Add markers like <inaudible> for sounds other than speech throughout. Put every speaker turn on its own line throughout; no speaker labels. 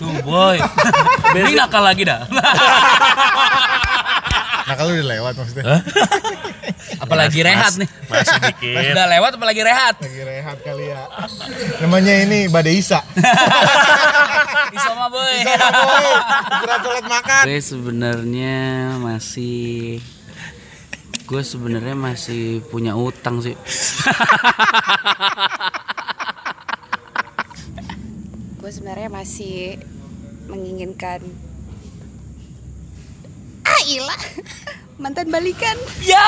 Tuh
<laughs>
boy. Ini nakal lagi dah.
Nah kalau udah lewat maksudnya.
apalagi rehat nih.
Masih dikit.
Udah lewat apalagi rehat.
Lagi rehat kali ya. Namanya ini Badeisa.
Bisa mah boy.
Iya, Berat telat makan.
gue sebenarnya masih gue sebenarnya masih punya utang sih
gue sebenarnya masih menginginkan ah ilah <laughs> mantan balikan
Ya.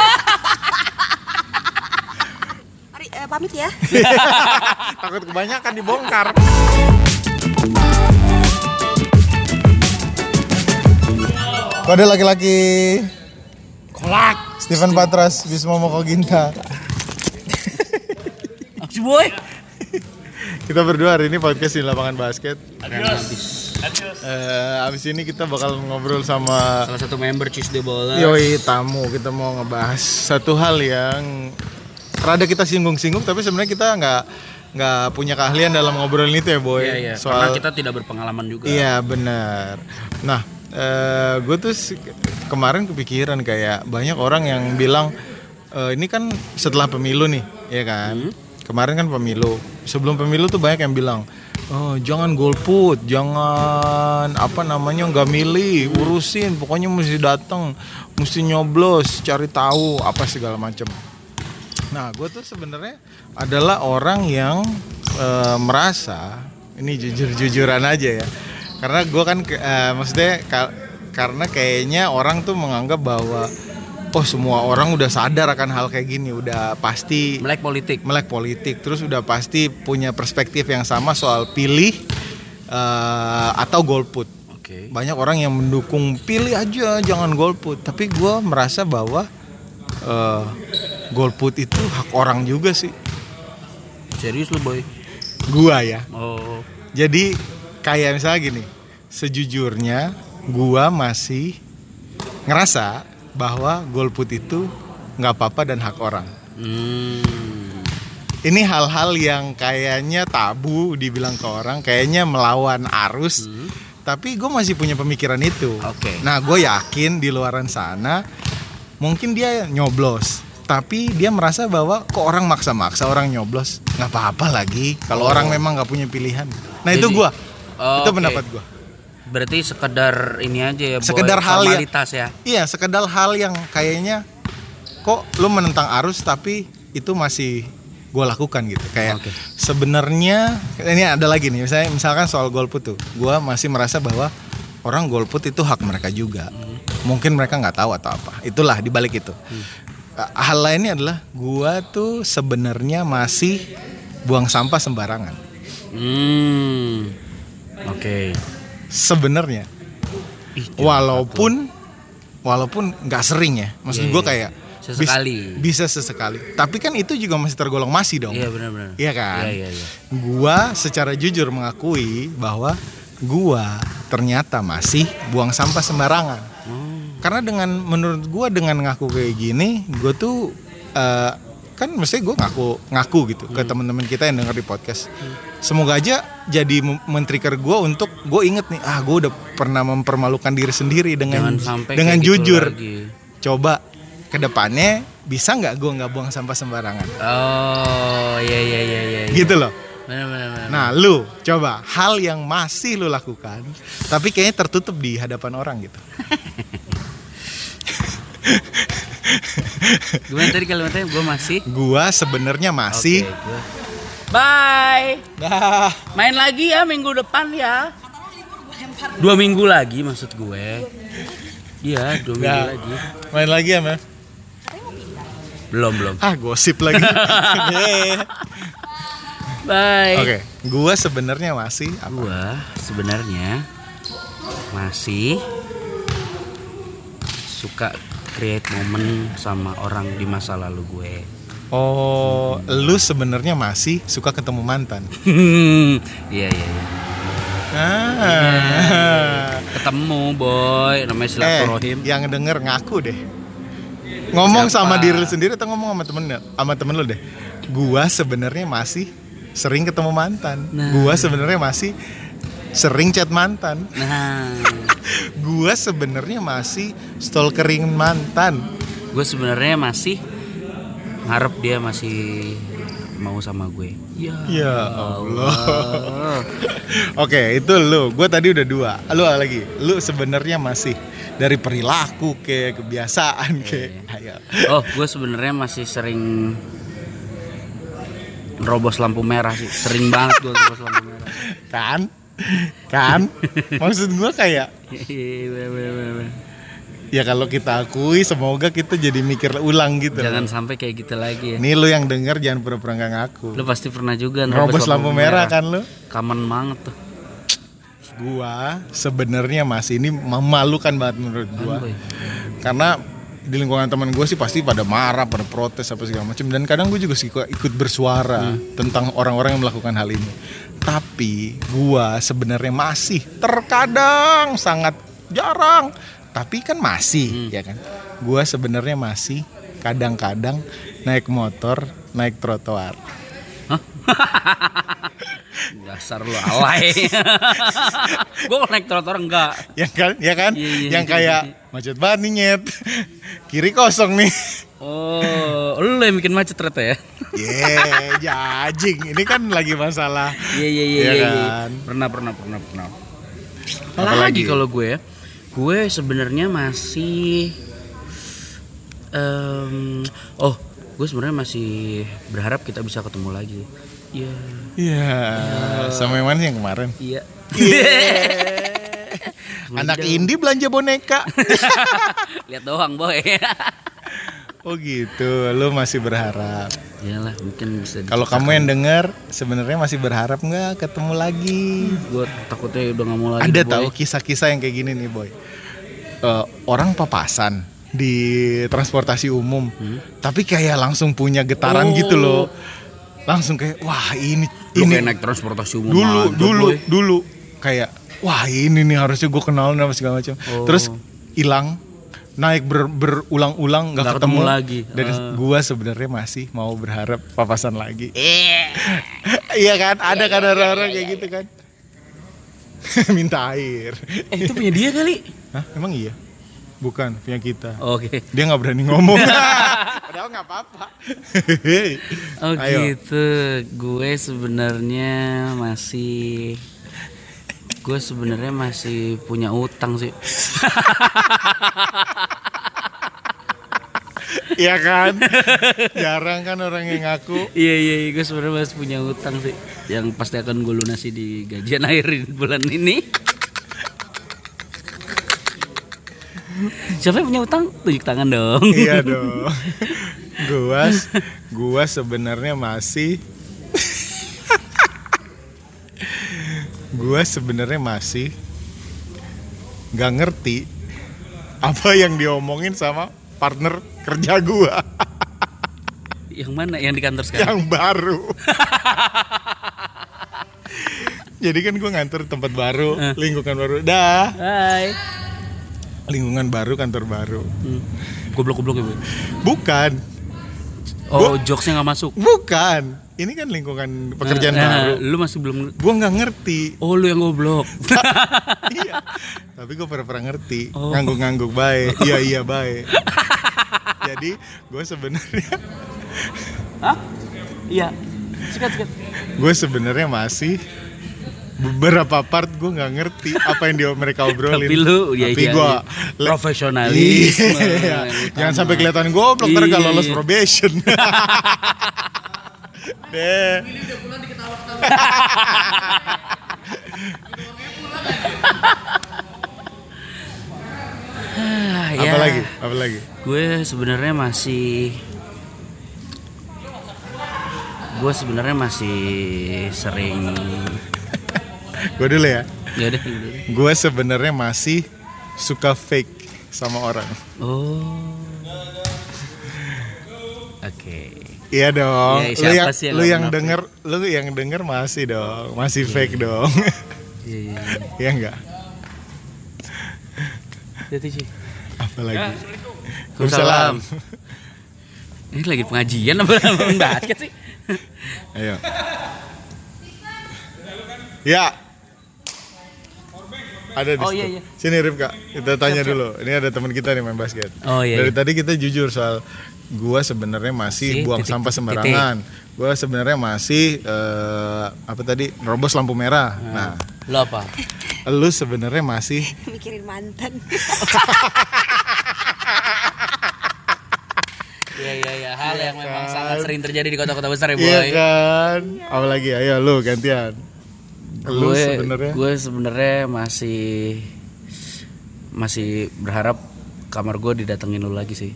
Mari, eh, pamit ya <laughs>
Takut kebanyakan dibongkar. Kode laki-laki. Kolak. Steven Patras, Bismo Moko Ginta.
Si boy.
Kita berdua hari ini podcast di lapangan basket. Eh, abis ini kita bakal ngobrol sama
salah satu member Tuesday Bola
Yoi tamu. Kita mau ngebahas satu hal yang rada kita singgung-singgung, tapi sebenarnya kita nggak nggak punya keahlian dalam ngobrolin itu ya boy.
Iya, iya. karena
Soal
kita tidak berpengalaman juga
Iya benar. Nah, eh gue tuh se- kemarin kepikiran kayak banyak orang yang bilang "Eh, ini kan setelah pemilu nih, ya kan? Kemarin kan pemilu. Sebelum pemilu tuh banyak yang bilang Oh, jangan golput, jangan apa namanya nggak milih, urusin, pokoknya mesti datang, mesti nyoblos, cari tahu apa segala macam. Nah, gue tuh sebenarnya adalah orang yang eh, merasa ini jujur-jujuran aja ya, karena gue kan ke- eh, maksudnya ka- karena kayaknya orang tuh menganggap bahwa oh semua orang udah sadar akan hal kayak gini, udah pasti
melek politik
melek politik, terus udah pasti punya perspektif yang sama soal pilih eh, atau golput
oke
banyak orang yang mendukung pilih aja jangan golput tapi gua merasa bahwa eh, golput itu hak orang juga sih
serius lu boy
gua ya
oh
jadi kayak misalnya gini sejujurnya gua masih ngerasa bahwa golput itu nggak apa-apa dan hak orang
hmm.
ini hal-hal yang kayaknya tabu dibilang ke orang kayaknya melawan arus tapi gue masih punya pemikiran itu
Hmm. Oke.
nah gue yakin di luaran sana mungkin dia nyoblos tapi dia merasa bahwa kok orang maksa-maksa orang nyoblos nggak apa-apa lagi kalau orang memang nggak punya pilihan nah
Oh.
itu
Jadi-
gue
Oh,
itu
oke.
pendapat gue
berarti sekedar ini aja ya boy
Sekedar hal ya.
formalitas ya
iya sekedar hal yang kayaknya kok lu menentang arus tapi itu masih gue lakukan gitu kayak
Oke.
sebenarnya ini ada lagi nih misalnya misalkan soal golput tuh gue masih merasa bahwa orang golput itu hak mereka juga mungkin mereka nggak tahu atau apa itulah dibalik itu Eh, hal lainnya adalah gue tuh sebenarnya masih buang sampah sembarangan
hmm oke
sebenarnya
Ih,
walaupun walaupun nggak sering ya maksud
Iya,
gue
iya.
kayak bis-
Sesekali.
bisa sesekali tapi kan itu juga masih tergolong masih dong
iya benar-benar
Iya kan?
iya iya iya
gua secara jujur mengakui bahwa gua ternyata masih buang sampah sembarangan karena dengan menurut gua dengan ngaku kayak gini gue tuh eh, kan mesti gue ngaku ngaku gitu ke
Hmm.
teman-teman kita yang denger di podcast semoga aja jadi mem- men-trigger gue untuk gue inget nih ah gue udah pernah mempermalukan diri sendiri dengan
jangan sampai
dengan
kayak gitu
jujur
lagi.
coba kedepannya bisa nggak gue nggak buang sampah sembarangan
oh iya iya iya iya iya.
gitu loh
benar benar benar
Nah, lu coba hal yang masih lu lakukan, tapi kayaknya tertutup di hadapan orang <laughs> gitu.
Gimana tadi kalimatnya? Gue masih.
Gua sebenarnya masih
Oke, gua- Bye.
Dah.
Main lagi ya minggu depan ya. Dua minggu lagi maksud gue. Iya, dua minggu
Nah.
lagi.
main lagi ya, Mel?
Belum belum.
Ah, gosip <laughs> lagi. Yeah.
Bye.
Oke, gua sebenarnya masih apa?
Gua sebenarnya masih suka create momen sama orang di masa lalu gue. <laughs>
Oh, lu sebenarnya masih suka ketemu mantan.
Iya iya. iya.
Ah.
Ketemu boy, namanya silaturahim.
Eh, yang denger ngaku deh. Ngomong
Siapa?
sama diri lu sendiri atau ngomong sama temen sama temen lu deh. Gua sebenarnya masih sering ketemu mantan.
Nah.
Gua sebenarnya masih sering chat mantan.
Nah,
Gua sebenarnya masih stalkerin mantan.
gue sebenarnya masih ngarep dia masih mau sama gue. Ya.
Ya Allah.
<laughs>
Oke, itu lu. Gue tadi udah dua. Lu lagi. Lu sebenarnya masih dari perilaku ke kebiasaan ke. Ayo.
Oh, gue sebenarnya masih sering nerobos lampu merah sih. Sering banget gue nerobos lampu merah.
Kan?
<laughs>
Kan? Maksud gue kayak
Hehehe,
iya,
bener, bener, bener.
ya kalau kita akui semoga kita jadi mikir ulang gitu.
Jangan sampai kayak gitu lagi ya.
Nih lu yang denger jangan pura-pura nggak ngaku.
Lu pasti pernah juga
Robos lampu merah kan lu?
Kamen banget tuh.
Gua sebenarnya masih ini memalukan banget menurut gua.
Boy.
karena di lingkungan teman gue sih pasti pada marah, pada protes apa segala macam dan kadang gue juga suka ikut bersuara
Hmm.
tentang orang-orang yang melakukan hal ini. Tapi gue sebenarnya masih terkadang sangat jarang, tapi kan
Hmm.
masih ya kan. Gue sebenarnya masih kadang-kadang naik motor, naik trotoar. <laughs>
Dasar lu alay. <laughs> gue mau naik trotoar enggak.
Yang kan, ya kan,
Iya, iya,
yang
iya,
kayak macet banget nih nyet, <laughs> kiri kosong nih.
Oh, lu yang bikin macet ternyata ya.
Ye, jajing. Ini kan lagi masalah.
Iya iya iya
Iya
iya. iya.
kan?
Pernah pernah pernah pernah.
Apalagi?
Apalagi kalau gue ya. Gue sebenarnya masih em, oh, gue sebenarnya masih berharap kita bisa ketemu lagi. Iya.
Iya.
Ah.
Sama yang mana sih yang kemarin?
Iya.
Anak Indi belanja
<laughs>
boneka.
Lihat doang, boy.
oh gitu. Lu masih berharap.
<laughs> Iyalah, mungkin bisa. di-
Kalau kamu yang denger sebenarnya masih berharap nggak ketemu lagi?
gue takutnya udah nggak mau lagi.
Ada
deh, boy.
tahu kisah-kisah yang kayak gini nih, Boy. Eh, orang papasan di transportasi umum.
Hmm.
Tapi kayak langsung punya getaran gitu loh. Langsung kayak wah ini
Oh. Lu
ini
kayak naik transportasi umum
dulu
aja,
dulu <laughs>
boy.
dulu kayak wah ini nih harusnya gue kenal apa segala macam terus hilang naik ber- berulang-ulang nggak
Nggak
ketemu,
ketemu lagi.
dan
Ah.
gue sebenarnya masih mau berharap papasan lagi <laughs> iya kan ada kan orang-orang kayak gitu kan <laughs> minta air
Eh, itu punya dia kali.
Hah, emang iya bukan punya kita
Oke.
dia nggak berani <laughs> ngomong padahal nggak apa-apa
Oh
Ayo.
gitu, gue sebenarnya masih gue sebenarnya masih punya utang sih.
<laughs> iya kan jarang kan orang yang ngaku
<laughs> Iya iya, iya, gue sebenarnya masih punya utang sih yang pasti akan gue lunasi di gajian <laughs> akhir bulan ini. <laughs> Siapa yang punya utang? Tunjuk tangan dong. <laughs>
Iya dong. <laughs> Gua gua sebenarnya masih <laughs> gua sebenarnya masih nggak ngerti apa yang diomongin sama partner kerja gua
Yang mana? Yang di kantor sekarang?
yang baru. Jadi kan gua ngantor tempat
Eh.
baru, lingkungan baru. Dah,
Hai.
lingkungan baru, kantor baru.
Hmm. Goblok-goblok ya, Bu.
Bukan,
Oh, jokesnya nggak masuk.
bukan. Ini kan lingkungan
Eh, eh,
pekerjaan baru.
Lu masih belum
gue nggak
<laughs>
ngerti
Oh lu yang
<laughs>
goblok.
iya tapi gue pernah ngerti
Oh.
ngangguk-ngangguk
<laughs>
baik iya iya baik jadi gue sebenarnya
Hah? Iya. Sikat sikat.
gue sebenarnya masih beberapa part gue nggak ngerti apa yang dia mereka obrolin
Tapi lu ya
tapi
iya,
gue
iya. profesionalisme.
<laughs> Iya. jangan
Utama.
sampai kelihatan goblok ntar kalau lolos
Iya. <laughs>
probation <laughs> deh
Ah, ya.
apa lagi apa lagi
Gue sebenarnya masih gue sebenarnya masih sering
gue dulu ya
ya deh lu dulu.
gue sebenarnya masih suka fake sama orang
oh oke
Iya dong.
Iya,
lu
siapa
yang,
sih yang
lu
gak
yang
munafik?
denger, lu yang denger masih dong, masih fake dong. <laughs>
iya iya
Iya enggak?
jadi sih
Apalagi.
Ya, Waalaikumsalam. ini lagi pengajian <laughs> apa apa basket sih
Ayo. Ya. Ada di
Oh,
situ.
iya, iya.
Sini Rifka, kita tanya dulu. Ini ada teman kita nih main basket.
Oh, iya,
Dari
iya.
tadi kita jujur soal gua sebenarnya
Masih
masih buang
titik,
sampah
titik.
sembarangan. Gua sebenarnya masih eh, apa tadi? Nerobos lampu merah.
Ah.
Nah,
Lo apa?
lu sebenarnya masih
mikirin mantan <laughs>
Iya iya iya hal yang memang sangat sering terjadi di kota-kota besar ya
Iya
boy.
kan? Apalagi ayo lu gantian.
gue
Lu sebenarnya
gue sebenarnya masih masih berharap kamar gue didatengin lu lagi sih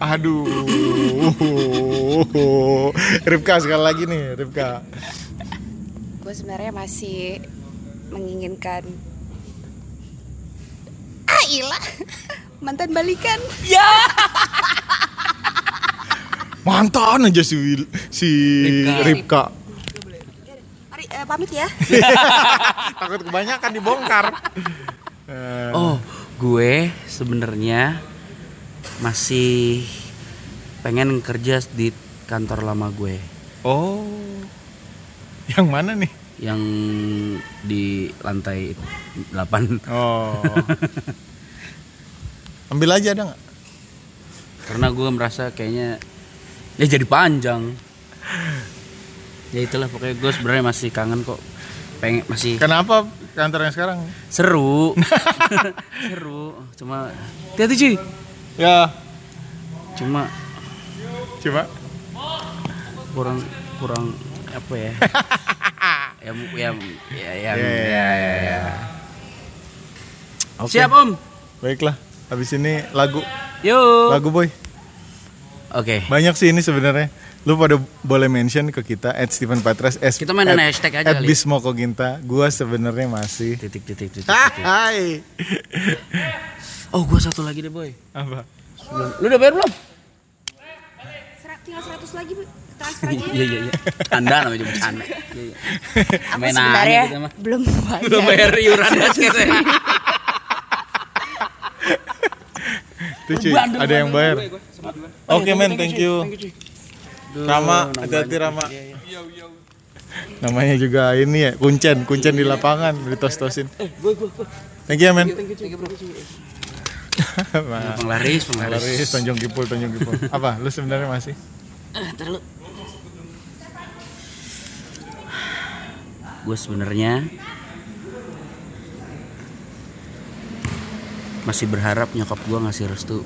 Aduh. <laughs> Rifka sekali lagi nih, Rifka.
gue sebenarnya masih menginginkan ah ilah <laughs> mantan balikan
Mantan aja si si Ripka.
Ari eh, pamit ya
Takut kebanyakan dibongkar. Eh,
oh gue sebenarnya masih pengen kerja di kantor lama gue
oh. Yang mana nih?
yang di lantai 8
Oh. Ambil aja ada nggak?
karena gue merasa kayaknya ya jadi panjang ya itulah pokoknya gue sebenarnya masih kangen kok pengen masih
Kenapa kantor yang sekarang?
seru seru cuma hati-hati cuy
Ya,
cuma
coba.
kurang kurang apa ya ya mu- ya ya, ya,
Ya, ya, ya, ya. Oke.
siap om
Baiklah, habis ini lagu
yuk oke
lagu boy. Banyak sih ini sebenarnya. Lu pada boleh mention ke kita at Steven Patras at,
Kita mainin
at-
hashtag aja
at
kali. ya.
Bismoko Ginta. Gua sebenarnya masih
titik titik titik,
Ah.
titik.
Hai.
oh gua satu lagi deh boy
Apa?
Sebelum- lu udah bayar belum
Serat, tinggal 100 lagi Bu. transfer aja ya
<laughs> iya iya iya anda namanya bercanda iya iya
aku
Main aja
sebenarnya
kita mah.
belum
lu
bayar
bayar iuran basket ya
Tuh cuy, ada yang bayar. Oke men, thank you. Rama, hati-hati Rama. Namanya juga ini ya, kuncen, kuncen di lapangan, ditos-tosin. Thank you ya men. <laughs> Mas,
penglaris penglaris
Laris, Tanjung Kipul, Tanjung Kipul. <laughs> Apa, lu sebenarnya masih?
gue sebenarnya masih berharap nyokap gue ngasih restu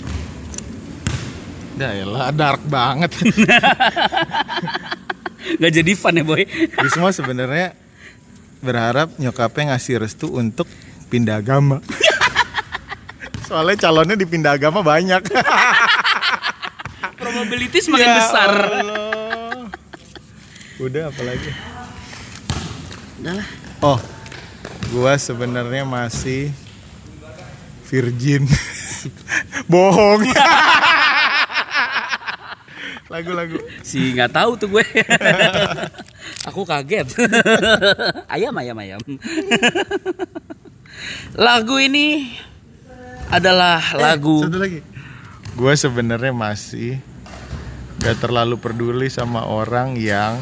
Dah elah, ya dark <laughs> banget.
nggak jadi fun ya boy
Bisma sebenarnya berharap nyokapnya ngasih restu untuk pindah <laughs> agama. Soalnya calonnya dipindah agama <laughs> banyak. Ya
probability semakin besar
Allah. Udah apalagi?
udah lah
Oh, gua sebenarnya masih virgin. <laughs> Bohong. Lagu-lagu.
si nggak tahu tuh <laughs> gue aku <laughs> kaget ayam ayam ayam lagu ini adalah lagu
Satu lagi. Gua sebenarnya masih gak terlalu peduli sama orang yang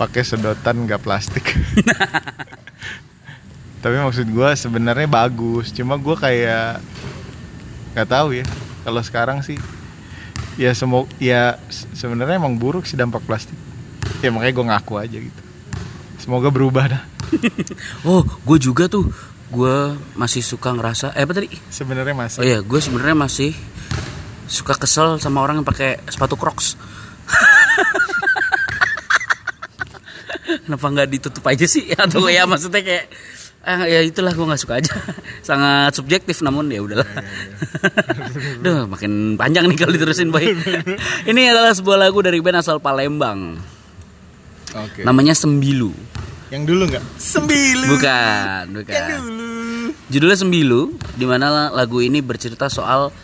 pakai sedotan gak <laughs> plastik. Tapi maksud gua sebenarnya bagus, cuma gua kayak nggak tahu ya. Kalau sekarang sih ya semua ya se- sebenarnya emang buruk sih dampak plastik. Ya makanya gua ngaku aja gitu. Semoga berubah dah.
oh gue juga tuh gue masih suka ngerasa eh apa tadi
Sebenarnya
Oh
masih.
iya, gue sebenarnya masih suka kesel sama orang yang pakai sepatu Crocs. Kenapa nggak ditutup aja sih? <laughs> Atau ya maksudnya kayak ah, ya itulah gue nggak suka aja. <laughs> Sangat subjektif namun ya udahlah. <laughs> Duh, makin panjang nih kalau diterusin boy. Ini adalah sebuah lagu dari band asal Palembang.
Oke.
Namanya Sembilu.
Yang dulu nggak? Sembilu.
Bukan, bukan. Judulnya Sembilu, di mana lagu ini bercerita soal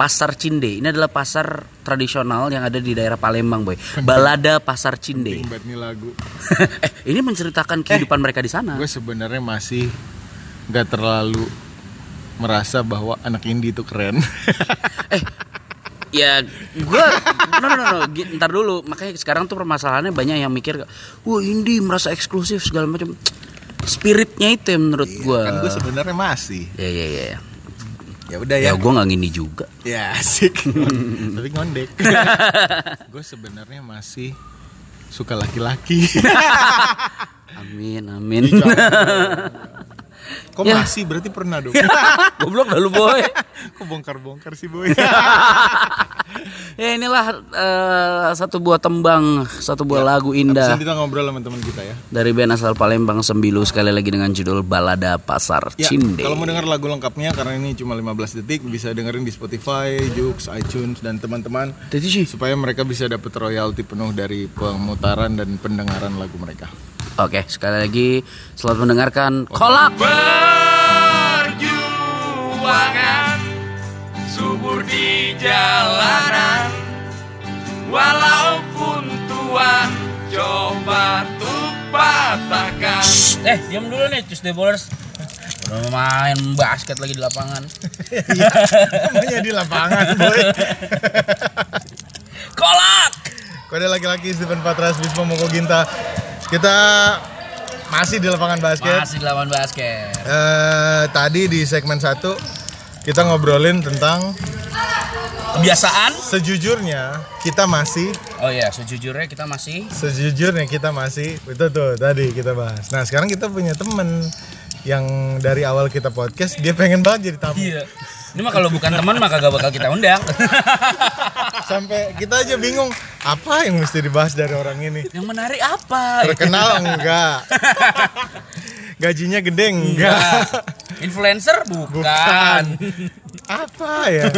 Pasar Cinde. Ini adalah pasar tradisional yang ada di daerah Palembang, boy. Balada Pasar Cinde. <laughs>
Buat nih lagu.
eh, ini menceritakan kehidupan mereka di sana.
gue sebenarnya masih nggak terlalu merasa bahwa anak indie itu <laughs> keren
Ya, gue no no no, no. Gi- ntar dulu. Makanya sekarang tuh permasalahannya banyak yang mikir, wah indie merasa eksklusif segala macam. spiritnya itu yang menurut Iya, gua
kan gue sebenarnya masih
ya ya ya
ya udah
ya gua nggak ngini juga
Ya <laughs> asik. Tapi <laughs> ngondek. gue sebenarnya masih suka <laughs> laki-laki.
amin amin
Ya. Kok
Ya.
masih berarti pernah <laughs> dong.
<laughs> goblok dah lu boy
Kok bongkar-bongkar sih boy.
<laughs> ya inilah eh, satu buah tembang satu
Ya,
buah lagu
Abis
indah
ini kita ngobrol sama teman kita ya.
dari band asal Palembang Sembilu sekali lagi dengan judul Balada Pasar
Ya,
Cinde
kalau mau dengar lagu lengkapnya karena ini cuma 15 detik bisa dengerin di Spotify, Joox, iTunes dan teman-teman
Jadi sih.
supaya mereka bisa dapat royalti penuh dari pemutaran dan pendengaran lagu <laughs> mereka.
Oke, sekali lagi selamat mendengarkan
Oh,
kolak.
iya.
perjuangan subur di jalanan walaupun tuan coba tuh patahkan
Eh, diam dulu nih Tuesday Bowlers. Udah main basket lagi di lapangan.
Namanya di lapangan boy.
Kolak.
Kode laki-laki Steven Patras Bisma Moko Ginta. Kita masih di lapangan basket.
Masih di lapangan basket.
Eh, tadi di segmen 1 kita ngobrolin tentang
Kebiasaan?
sejujurnya kita masih
Oh iya, sejujurnya kita masih
sejujurnya kita masih itu tuh tadi kita bahas. Nah, sekarang kita punya temen yang dari awal kita podcast dia pengen banget jadi tamu.
Iya. Ini mah kalau bukan teman mah kagak bakal kita undang.
Sampai kita aja bingung apa yang mesti dibahas dari orang ini.
Yang menarik apa?
Terkenal enggak? Gajinya gede enggak?
Ya. Influencer bukan.
apa ya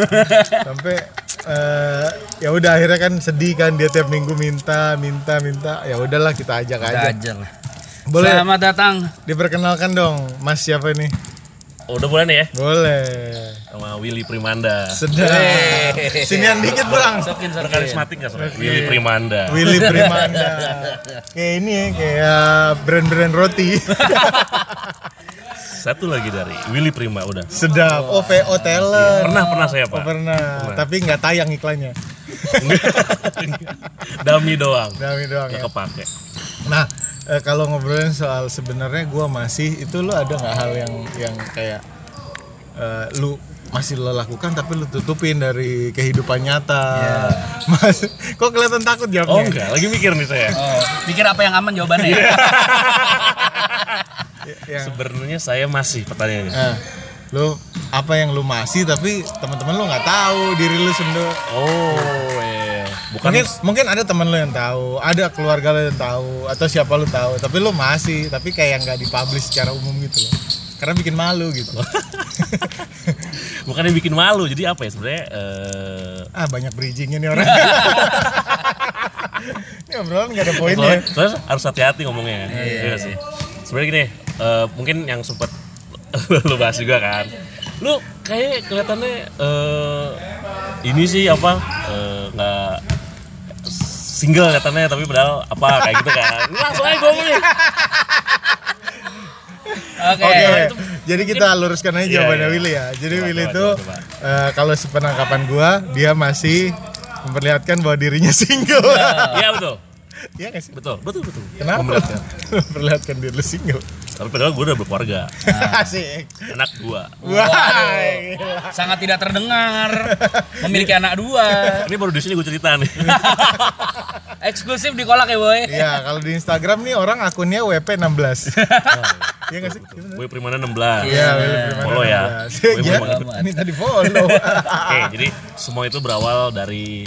sampai eh, ya udah akhirnya kan sedih kan dia tiap minggu minta minta minta ya udahlah kita ajak
Kita
aja
aja lah.
boleh
Selamat datang.
diperkenalkan dong mas siapa nih Oh,
Udah bulan ya
boleh
sama Willy Primanda.
sedang
<laughs>
sinian Eh, dikit bang
Sokin sokin.
Berkarismatik nggak soalnya? Willy Primanda.
Willy Primanda kayak ini ya kayak brand-brand roti <laughs>
Satu lagi dari Willy Prima udah.
sedap oh VO talent
Iya, Pernah pernah saya
Oh,
pak. <laughs>
pernah tapi nggak tayang iklannya
Dami doang.
dami doang ya
Nggak kepake.
Nah, eh, kalau ngobrolin soal sebenarnya gua masih itu lo ada nggak hal yang yang kayak eh, lu masih lo lakukan tapi lu tutupin dari kehidupan nyata. <laughs> Mas, kok kelihatan takut jawabnya?
Iya. Oh enggak, lagi mikir nih saya.
Oh, pikir apa yang aman jawabannya ya?
Ya.
Sebenarnya saya masih pertanyaannya.
Eh, lu apa yang lu masih tapi teman-teman lu nggak tahu diri lu sendiri.
Oh, iya. bukan
Mungkin mungkin ada teman lu yang tahu, ada keluarga lu yang tahu atau siapa lu tahu, tapi lu masih tapi kayak nggak dipublish secara umum gitu loh. Karena bikin malu gitu.
<laughs> bukan yang bikin malu. Jadi apa ya sebenarnya? eh,
Ah banyak bridgingnya nih
<laughs>
orang. ini obrolan nggak ada poinnya.
soalnya, soalnya harus hati-hati ngomongnya. Iya nggak sih. Sebenarnya gini, eh, mungkin yang sempat <laughs> lu bahas juga kan. Lu kayak kelihatannya eh, ini sih apa eh, nggak single kelihatannya tapi padahal apa kayak gitu kan. <laughs> Langsung aja gue nih.
Oke.
Oke, jadi kita luruskan aja jawabannya
iya.
Willy ya. Jadi
Coba,
Willy
coba,
itu
coba,
eh, kalau sepenangkapan gua dia masih memperlihatkan bahwa dirinya <laughs> single.
Iya betul.
Iya nggak sih?
Betul, betul, betul.
Kenapa? <laughs>
Memperlihatkan.
memperlihatkan diri lu single.
Tapi padahal gue udah berkeluarga.
Nah. <laughs> Asik.
Anak dua.
Wah.
Sangat tidak terdengar. Memiliki anak dua.
Ini baru di sini gue cerita <laughs> nih.
Eksklusif di kolak ya, boy.
Iya, kalau di Instagram nih orang akunnya WP16. Iya nggak sih?
Gue primana
<laughs>
16.
Iya, Willy Primana
Follow ya.
<laughs> 16.
Gue
Iya,
Primana.
minta di <laughs> follow.
Oke,
<laughs>
jadi semua itu berawal dari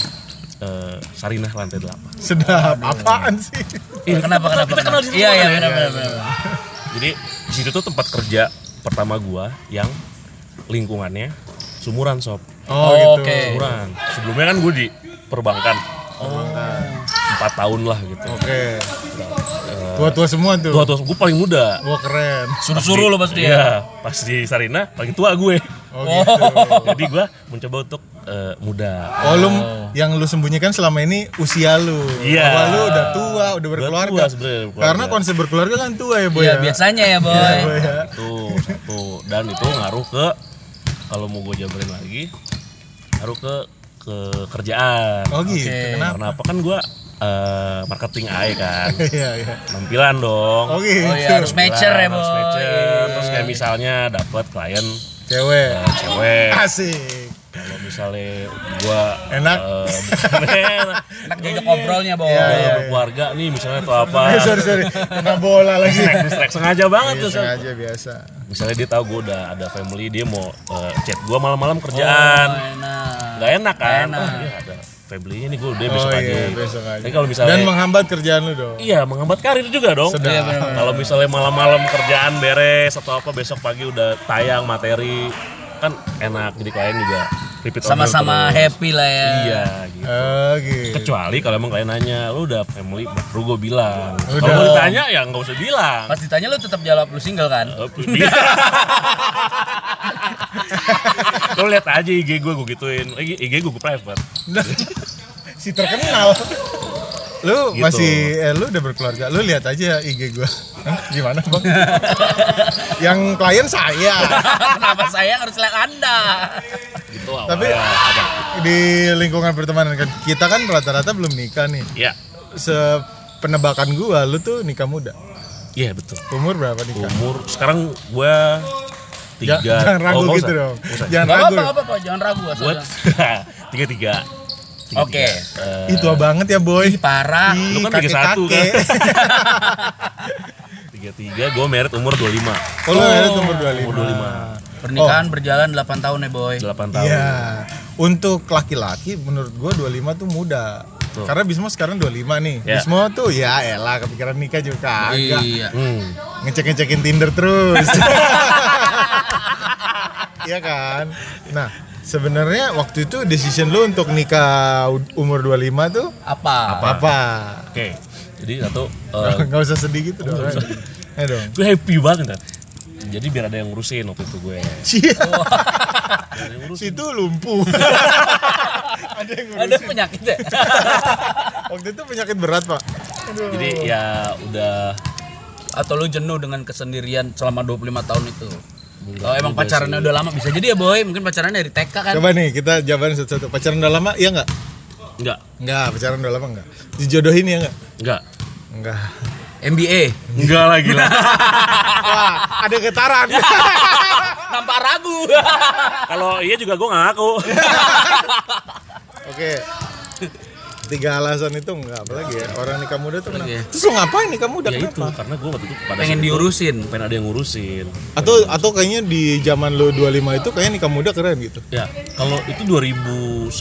eh, Sarinah lantai 8.
Sedap, apaan <laughs> sih?
kenapa Iya, kenapa?
kita
kenapa?
kenal di
Iya, iya,
luar ya?
benar benar. benar.
Jadi di situ tuh tempat kerja pertama gua yang lingkungannya sumuran sob.
Oh,
Oke.
Sumuran. Sebelumnya kan gue di perbankan. Empat tahun lah gitu.
Oke. Tua-tua semua tuh.
Tua tua gue paling muda.
Wah keren.
Suruh-suruh lo pasti ya.
Iya, pas di Sarinah paling tua gue.
Oh, gitu.
Jadi gua mencoba untuk eh, muda.
Oh, lu- yang lu sembunyikan selama ini usia lu.
Iya.
Bahwa lu udah tua, udah berkeluarga.
tua sebenarnya, berkeluarga.
Karena konsep berkeluarga kan tua ya, Boy.
Iya,
ya?
biasanya ya, boy.
Iya, Boy, ya.
Tuh, satu. Dan itu ngaruh ke kalau mau gue jabarin lagi ngaruh ke ke kerjaan.
Oh gitu.
Oke.
Kenapa? <laughs>
Karena apa kan gua eh, marketing aja kan
Iya iya.
penampilan dong
Oke.
Oh iya, harus matcher ya,
Penampilan,
Boy. Iya.
Gitu. Nah, harus matcher. terus kayak misalnya dapat klien
Cewek.
eh, cewek
Asik.
kalau misalnya gua
Ah. Enak.
eh,
<laughs>
bukan enak.
Enak diajak ngobrolnya, Boy.
Gua keluarga nih misalnya atau apa
Eh, iya. <laughs> sorry sorry. Kena bola lagi.
Distract, distract. sengaja banget
Iya,
tuh Sob.
sengaja biasa.
misalnya dia tahu gue udah ada family dia mau eh, chat gue malam-malam
Oh, iya.
kerjaan nggak enak kan
Nggak enak.
Oh, iya, ada familynya nih gue udah
Oh
besok aja
iya, besok aja.
tapi kalau misalnya
Dan menghambat kerjaan lu dong.
iya menghambat karir juga dong
Sedap. Iya, benar-benar.
kalau misalnya malam-malam kerjaan beres atau apa besok pagi udah tayang materi kan enak jadi klien juga repeat order
Sama-sama
terus.
happy lah ya.
iya gitu
Oh, gitu.
kecuali kalau emang klien nanya lu udah family baru gue bilang
Udah.
kalau mau ditanya ya nggak usah
<laughs>
bilang
Pas ditanya lu tetap jawab lu single kan?
Oh, dia. Lo lihat aja IG gue gue gituin. IG, IG gue gue private.
Nah, <laughs> si terkenal. Lu
Gitu.
masih eh, lu udah berkeluarga. Lu lihat aja IG gua. Hah, Gimana, Bang? <laughs> Yang klien saya
<laughs> Kenapa saya harus lihat Anda?
Gitu
Tapi-
awalnya.
di lingkungan pertemanan kan kita kan rata-rata belum nikah nih.
Iya.
Sepenebakan gua lu tuh nikah muda.
Iya betul.
Umur berapa nikah?
Umur sekarang gue tiga.
Ja- Jangan ragu
Oh, nggak
gitu
usah.
dong.
Nggak usah.
Jangan
Gak
ragu.
apa-apa, nggak apa-apa, jangan ragu asal.
Buat <laughs> tiga tiga.
jangan- Oke.
Ih tua banget ya boy.
Parah.
Ih,
lu kan tiga satu kan.
kakek-kakek.
Tiga tiga. Gue merit umur 25
Oh, lu ada umur 25.
Umur 25
Pernikahan berjalan 8 tahun ya, Boy.
Oh. Delapan tahun.
Iya. Untuk laki-laki menurut gua 25 tuh muda.
Betul.
Karena Bismo sekarang 25 nih.
Ya.
Bismo tuh ya elah kepikiran nikah juga kagak.
Iya.
Hmm.
Ngecek-ngecekin Tinder terus. <laughs> Iya kan? Nah, sebenarnya waktu itu decision lu untuk nikah u- umur 25 tuh
Apa?
apa?
Oke. Jadi satu. eh,
<laughs> Nggak usah sedih gitu dong. Eh dong.
gue happy banget kan. Jadi biar ada yang ngurusin waktu itu gue.
Cie. <laughs> Situ lumpuh. <laughs> Ada yang
Ada penyakit ya? <laughs>
Waktu itu penyakit berat pak.
Jadi ya udah
Atau lu jenuh dengan kesendirian selama 25 tahun itu? Kalau emang pacarannya udah lama bisa jadi ya, Boy. Mungkin pacarannya dari TK kan.
Coba nih kita jawaban satu-satu. Pacaran udah lama? Iya nggak?
enggak
Nggak. Pacaran udah lama nggak? Dijodohin ya nggak?
enggak
<laughs>
Nggak.
MBA.
enggak lagi lah
Wah, ada
<laughs>
getaran.
Nampak ragu.
<laughs> kalau iya juga gue
<laughs>
ngaku
Oke. Tiga alasan itu nggak apalagi ya orang nikah muda tuh kenapa?
Apalagi ya?
Terus lo ngapain nikah muda
ya itu
kenapa?
karena gue waktu itu pada
Pengen
saat itu
diurusin.
pengen ada yang ngurusin
Atau atau kayaknya di zaman lo 25 itu kayaknya nikah muda keren gitu.
ya kalau itu 2010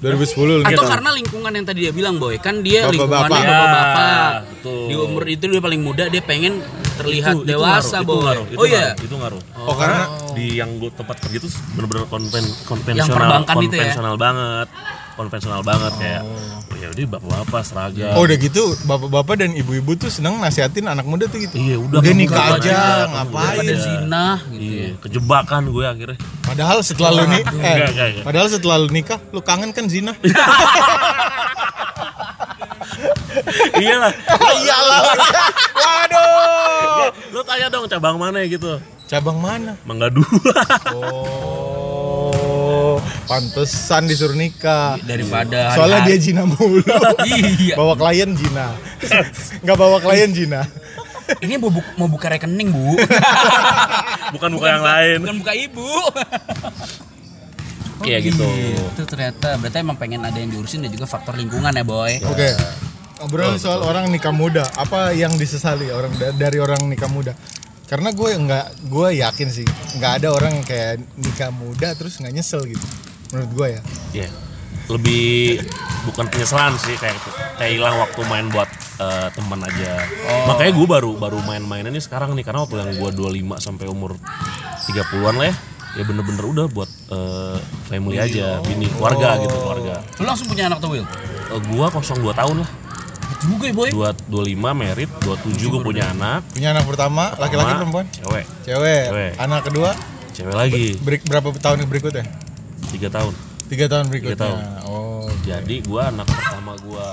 2010 lo
Atau
nikah.
karena lingkungan yang tadi dia bilang boy kan dia
Gitu. Bapak-bapak.
lingkungannya
Ya,
bapak-bapak
betul.
di umur itu dia paling muda dia pengen terlihat
Itu- itu
dewasa
ngaruh,
boy
itu ngaruh, itu
oh iya
ngaruh, itu ngaruh
Oh, karena
di yang gue tempat kerja itu bener-bener konven konvensional
perbankan itu ya?
konvensional banget konvensional banget kayak oh, ya udah bapak-bapak seragam
Oh udah gitu bapak-bapak dan ibu-ibu tuh seneng nasihatin anak muda tuh gitu.
iya udah
Udah
kamu
nikah
jangan
aja,
kamu
ngapain?
jangan
pada
ada.
zina gitu
iya kejebakan gue akhirnya <laughs>
Padahal setelah lu nikah, eh,
enggak, enggak, enggak.
padahal setelah lu nikah, lu kangen kan
<laughs>
zina?
iyalah Ya
Iyalah. <laughs> Waduh.
lo tanya dong cabang mana gitu
Cabang mana?
Mangga dua. <laughs>
Oh, pantesan disuruh nikah.
Iya,
daripada
Soalnya dia
hari-hari.
zina
<laughs>
mulu.
Iya.
Bawa klien zina. <laughs> Nggak bawa klien zina.
ini mau, bu- mau buka rekening
<laughs>
bu
Bukan buka yang lain.
bukan buka ibu
Iya gitu.
itu ternyata berarti emang pengen ada yang diurusin dan juga faktor lingkungan ya boy
Iya.
Oke. Ngobrol soal orang nikah muda, apa yang disesali orang da- dari orang nikah muda? Karena gue nggak, gue yakin sih nggak ada orang yang kayak nikah muda terus nggak nyesel gitu. Menurut gue ya.
Iya. Lebih bukan penyesalan sih kayak kayak hilang waktu main buat eh, teman aja.
Oh.
Makanya gue baru baru main-main ini sekarang nih karena waktu yang gue 25 sampai umur 30-an lah ya ya bener-bener udah buat eh, family
Iya.
aja, bini keluarga
Oh.
gitu keluarga.
lu langsung punya anak tuh Will
Eh, gua 02 tahun lah.
juga ya boy
Dua- 25 merit, 27 gue punya anak.
Punya anak pertama, laki-laki
sama
perempuan?
Cewek.
Cewek.
Cewek.
Anak kedua,
Cewek lagi
berik- berapa tahun berikutnya?
3 tahun.
Tiga tahun berikutnya.
tahun.
Oh.
Jadi gua anak pertama gua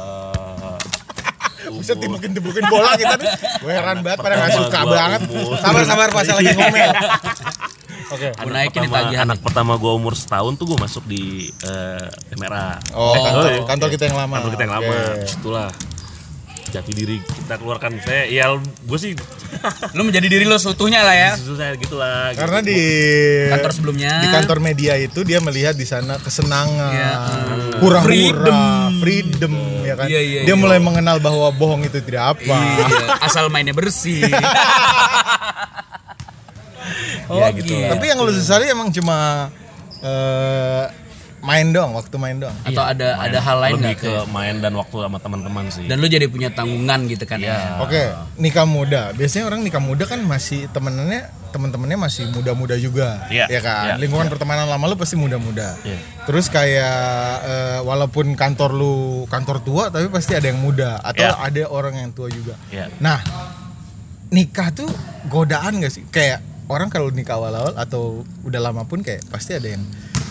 Buset dibukin-dibukin bola kita nih. Gue heran banget pada nggak suka
Pertama gua
banget.
<laughs> umur.
Sabar sabar pas lagi ngomel.
Oke.
Gua
Anak
naikin nih
pertama-
tagihan
Anak pertama gue umur setahun tuh gue masuk di eh, MRA.
Oh,
Eh,
kantor,
iya.
kantor kita yang lama.
Kantor kita yang lama.
Oke.
Itulah jati diri kita keluarkan saya ya gue
<laughs>
sih
Lu menjadi diri lu seutuhnya lah ya.
susah gitu lah gitu.
Karena di
Kantor sebelumnya.
di kantor media itu dia melihat di sana kesenangan,
Iya.
hura-hura,
Freedom.
freedom, ya kan.
Iya, iya,
dia
iya.
mulai mengenal bahwa bohong itu tidak apa.
Iya, asal mainnya
<laughs>
bersih. oh
Ya, gitu
gitu.
lah.
Tapi yang lu sesali emang cuma eh, main doang, waktu main doang.
Atau ada
Main.
ada hal lain
lebih
nggak
ke main dan waktu sama teman-teman sih
Dan lu jadi punya tanggungan gitu kan
Iya.
ya.
Oke, nikah muda. Biasanya orang nikah muda kan masih temenannya teman-temannya masih muda-muda juga,
Iya,
ya kan.
iya,
Lingkungan pertemanan lama lu pasti muda-muda.
Iya.
Terus kayak eh, walaupun kantor lu kantor tua, tapi pasti ada yang muda atau
Iya.
ada orang yang tua juga.
Iya.
Nah, nikah tuh godaan gak sih? Kayak orang kalau nikah awal-awal atau udah lama pun kayak pasti ada yang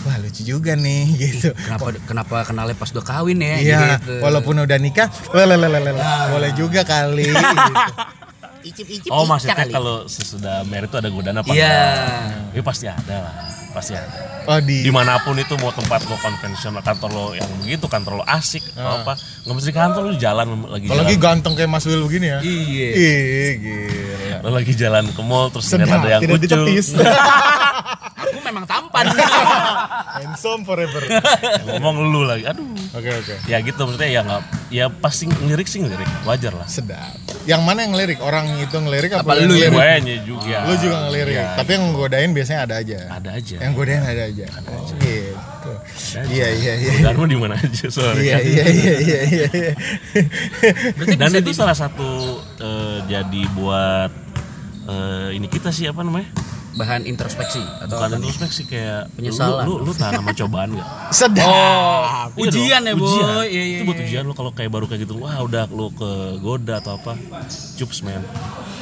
wah lucu juga nih <laughs> gitu.
Kenapa kenapa kenalnya pas udah kawin ya?
Iya,
gitu.
walaupun udah nikah, lelelelelele, boleh
<laughs>
juga kali. gitu.
oh maksudnya kalau sesudah married tuh ada godaan apa
Iya.
enggak? ya pasti ada lah pasti ada
Oh di,
dimanapun itu mau tempat lo konvensional kantor lo yang begitu kantor lo asik atau apa nggak mesti di kantor lo jalan lagi
Ah. apalagi
jalan
ganteng kayak Mas Will begini ya.
Iya.
Ih, gila.
lo lagi jalan ke mall terus
Sedap,
ngeliat ada yang
tidak
lucu
<laughs>
ditepis.
Aku memang <laughs> tampan.
Handsome forever.
<laughs> ngomong lu lagi aduh
Oke oke.
ya gitu maksudnya ya nggak ya pasti ngelirik sih ngelirik wajar lah
Sedap. Yang mana yang ngelirik? Orang itu ngelirik apa,
Apa
yang
lu ya, yang
ngelirik?
gue juga
Lu juga ngelirik.
Iya,
Tapi yang godain biasanya ada aja.
ada aja
Yang godain ada aja. Oh, gitu. Iya iya iya.
Dharma di mana aja sorry
Iya iya iya iya iya.
dan itu salah satu eh, jadi buat eh, ini kita sih apa namanya
Bahan introspeksi atau
bukan introspeksi kayak
Penyesalan.
lu lu, lu tahan sama cobaan
<laughs>
gak?
Oh.
Sedap.
Iya
Ujian
dong,
ya, Boy.
ujian.
Iya, iya,
itu buat
iya.
ujian lo kalau kayak baru kayak gitu wah udah lo ke goda atau apa cups man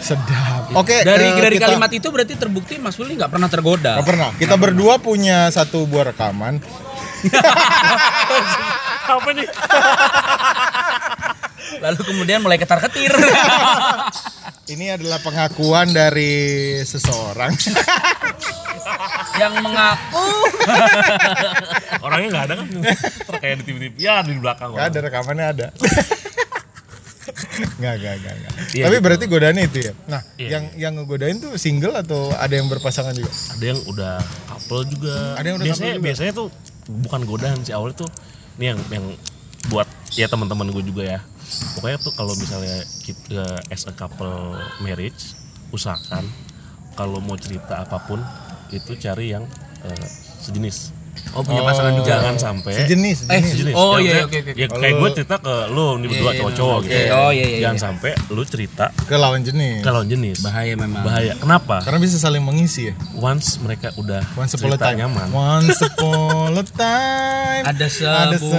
Sedap. Oke.
dari
eh,
dari
kita-
kalimat itu berarti terbukti Mas Willy nggak pernah tergoda.
Gak pernah. Kita berdua punya satu buah rekaman.
apa nih
Lalu kemudian mulai ketar ketir.
Ini adalah pengakuan dari seseorang.
yang mengaku
orangnya nggak ada
<laughs>
kan Ntar kayak di tv tv ya di belakang
Gak
orang.
ada rekamannya ada. Nggak, nggak, nggak, nggak.
Iya,
Tapi
gitu.
berarti godaannya itu ya. Nah,
Iya,
yang yang ngegodain tuh single atau ada yang berpasangan juga?
ada yang udah couple juga
Ada yang udah
biasanya
couple juga.
biasanya tuh bukan godaan sih awalnya tuh ini yang yang buat ya teman-teman gue juga ya pokoknya tuh kalau misalnya kita as a couple marriage usahakan kalau mau cerita apapun itu cari yang eh, sejenis
Oh punya pasangan
Oh.
juga.
jangan sampai
Sejenis,
Eh,
sejenis.
Sejenis.
Oh, iya,
Ya, maksudnya,
oke, oke,
Ya kayak
Kalau-
gue cerita ke lu nih
Iya,
berdua
iya,
cowok-cowok
oke.
gitu.
Oh, iya, iya,
Jangan
iya.
sampai lu cerita
ke lawan jenis.
ke lawan jenis.
Bahaya memang.
Bahaya. Kenapa?
Karena bisa saling mengisi ya.
Once mereka udah
Once upon a
cerita
time.
nyaman.
Once upon a time.
Ada sebuah,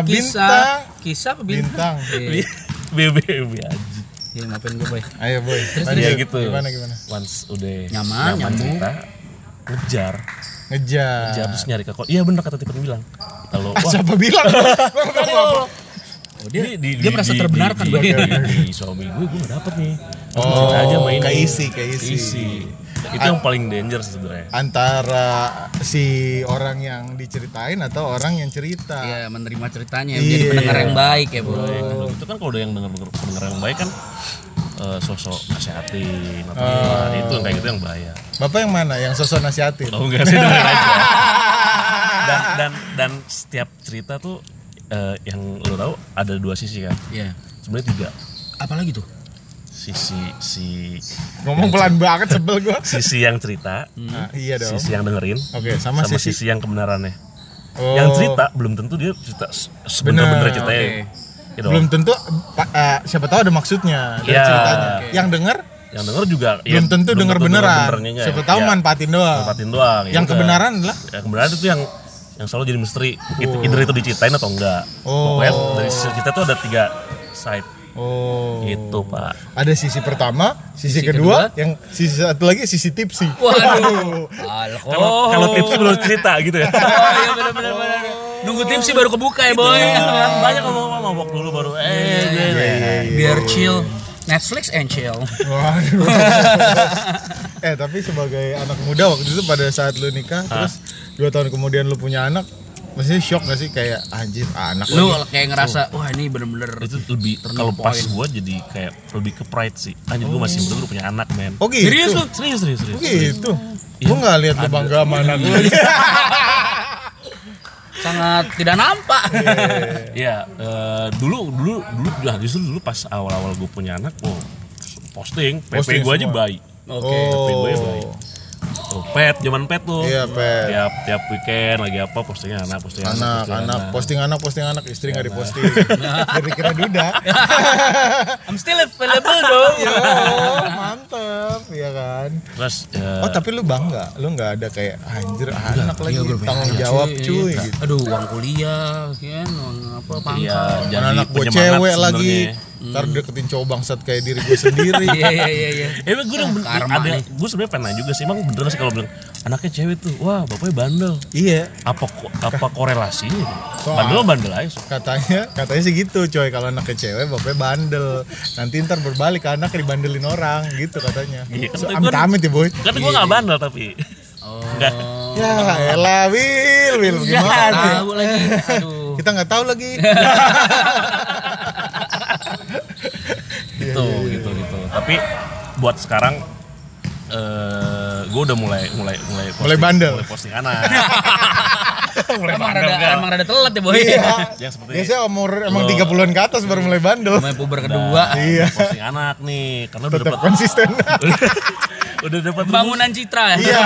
kisah,
bintang.
kisah apa
Bintang.
bintang? Iya,
<laughs> BBB aja.
Iya, ngapain gue boy?
Ayo boy. lanjut.
Iya gitu.
Gimana gimana?
Once udah
Nyaman, nyambung.
cerita ngejar,
Ngejar.
ngejar terus nyari ke ko- Iya bener kata Tiffany bilang. Kalau
Ah,
wah,
siapa
<laughs>
bilang?
oh, dia, di,
dia merasa terbenarkan,
di,
Bang.
di, di suami gue gue gak dapet nih. Terus
Oh,
cerita aja main.
keisi, keisi.
Itu
Ah.
yang paling danger sih sebenarnya.
antara si orang yang diceritain atau orang yang cerita.
Iya, menerima ceritanya,
Iya.
menjadi pendengar yang baik ya
Oh.
boy.
baik. Nah, itu kan kalau udah yang denger pendengar yang baik kan eh, sosok nasihatin atau
Ah.
gimana. itu yang kayak gitu yang bahaya
Bapak yang mana? Yang sosok nasihatin.
kalau Oh, enggak sih dengerin
<laughs>
aja dan dan dan setiap cerita tuh eh, yang lo tahu ada dua sisi kan
Iya.
sebenarnya tiga
Apalagi tuh?
sisi si
Ngomong pelan banget sebel gua.
sisi yang cerita
Ah, iya dong.
Hmm. sisi yang dengerin
Oke, sama sisi-
sisi yang kebenarannya
Oh,
yang cerita belum tentu dia cerita se-
Bener,
sebener-bener ceritanya
oke.
Ya dong.
belum tentu pa- eh, siapa tahu ada maksudnya dari
Iya.
ceritanya.
Oke.
Yang denger
yang denger juga ya,
belum tentu denger beneran.
benernya enggak
siapa
ya.
tahu
Ya.
manfaatin doang.
manfaatin doang ya
yang
udah.
kebenaran Oh. adalah
ya, kebenaran itu yang yang selalu jadi misteri itu either itu diceritain atau enggak
Oh.
pokoknya dari sisi cerita tuh ada tiga side
Oh.
gitu pak
Ada sisi pertama, sisi, kedua, yang sisi satu lagi sisi tipsi.
Waduh.
kalau
Alkohol.
kalau tips belum cerita gitu <laughs> ya
Oh iya benar-benar. Nunggu tim sih baru kebuka ya boy.
Kan Iya,
iya.
banyak ngomong ngomong mabok dulu baru eh gitu.
Biar chill. Netflix and chill.
<laughs> Waduh. <laughs> eh tapi sebagai anak muda waktu itu pada saat lu nikah terus dua tahun kemudian lu punya anak maksudnya shock gak sih kayak anjir anak
Lu
lagi.
kayak ngerasa wah ini bener-bener
itu lebih
turn
kalau
off
pas
point.
gue jadi kayak lebih ke pride sih anjir gue masih muda gue punya anak men
oh gitu
Serius lu?
serius serius serius
Oh gitu gua nggak lihat lu
Ada.
bangga sama anak lu
sangat tidak nampak.
Iya, eh, dulu dulu dulu nah, justru dulu pas awal-awal gue punya anak, wow, posting,
Posting
PP gue aja
semua.
bayi.
Oke.
Tapi gue
oh
baik. Oh, pet, zaman pet tuh.
iya pet
Tiap tiap weekend lagi apa postingnya anak, posting
anak
posting
anak posting anak posting anak istri nggak diposting
<laughs>
dari kira duda
I'm still available dong. <laughs>
Yo, mantep ya kan
Terus Iya eh, iya,
oh tapi lu bangga lu nggak ada kayak anjir anak lagi tanggung jawab cuy gitu
iya, Aduh, uang kuliah, kan, uang apa
iya,
pangkat.
jadi
Mana anak gue
penyemangat
cewek lagi
sebenarnya. Hmm.
ntar deketin cowok bangsat kayak diri gue
<laughs>
sendiri
Iya, iya, iya, iya.
Eh, gue udah ben-
Karma
ada,
nih.
gue sebenarnya pengen nanya juga sih, emang bener sih kalau bilang anaknya cewek tuh, wah bapaknya bandel.
iya
Apa ko- apa korelasinya?
Soal-
Bandel bandel aja. so.
katanya katanya sih gitu coy kalau anaknya cewek bapaknya bandel nanti ntar berbalik ke anak dibandelin orang gitu katanya
Iya, kan
so,
tapi
amit
gua-
amit ya boy
Kan gue gak bandel tapi. Nggak.
ya elah wil wil
Iya,
gimana Nah,
Tahu lagi. Aduh.
kita nggak tahu
<laughs>
lagi
gitu gitu gitu tapi buat sekarang eh gue udah mulai mulai mulai posting,
Mulai bandel.
mulai posting <laughs> anak mulai
Emang
bandel
rada
kan
emang rada telat ya, Boy.
yang seperti
Iya. biasanya umur emang 30-an ke atas baru mulai bandel
Main puber kedua.
iya
posting anak nih karena udah
tetap
dapat
konsisten
<laughs> udah dapat rumus
Bangunan citra. ya?
Iya.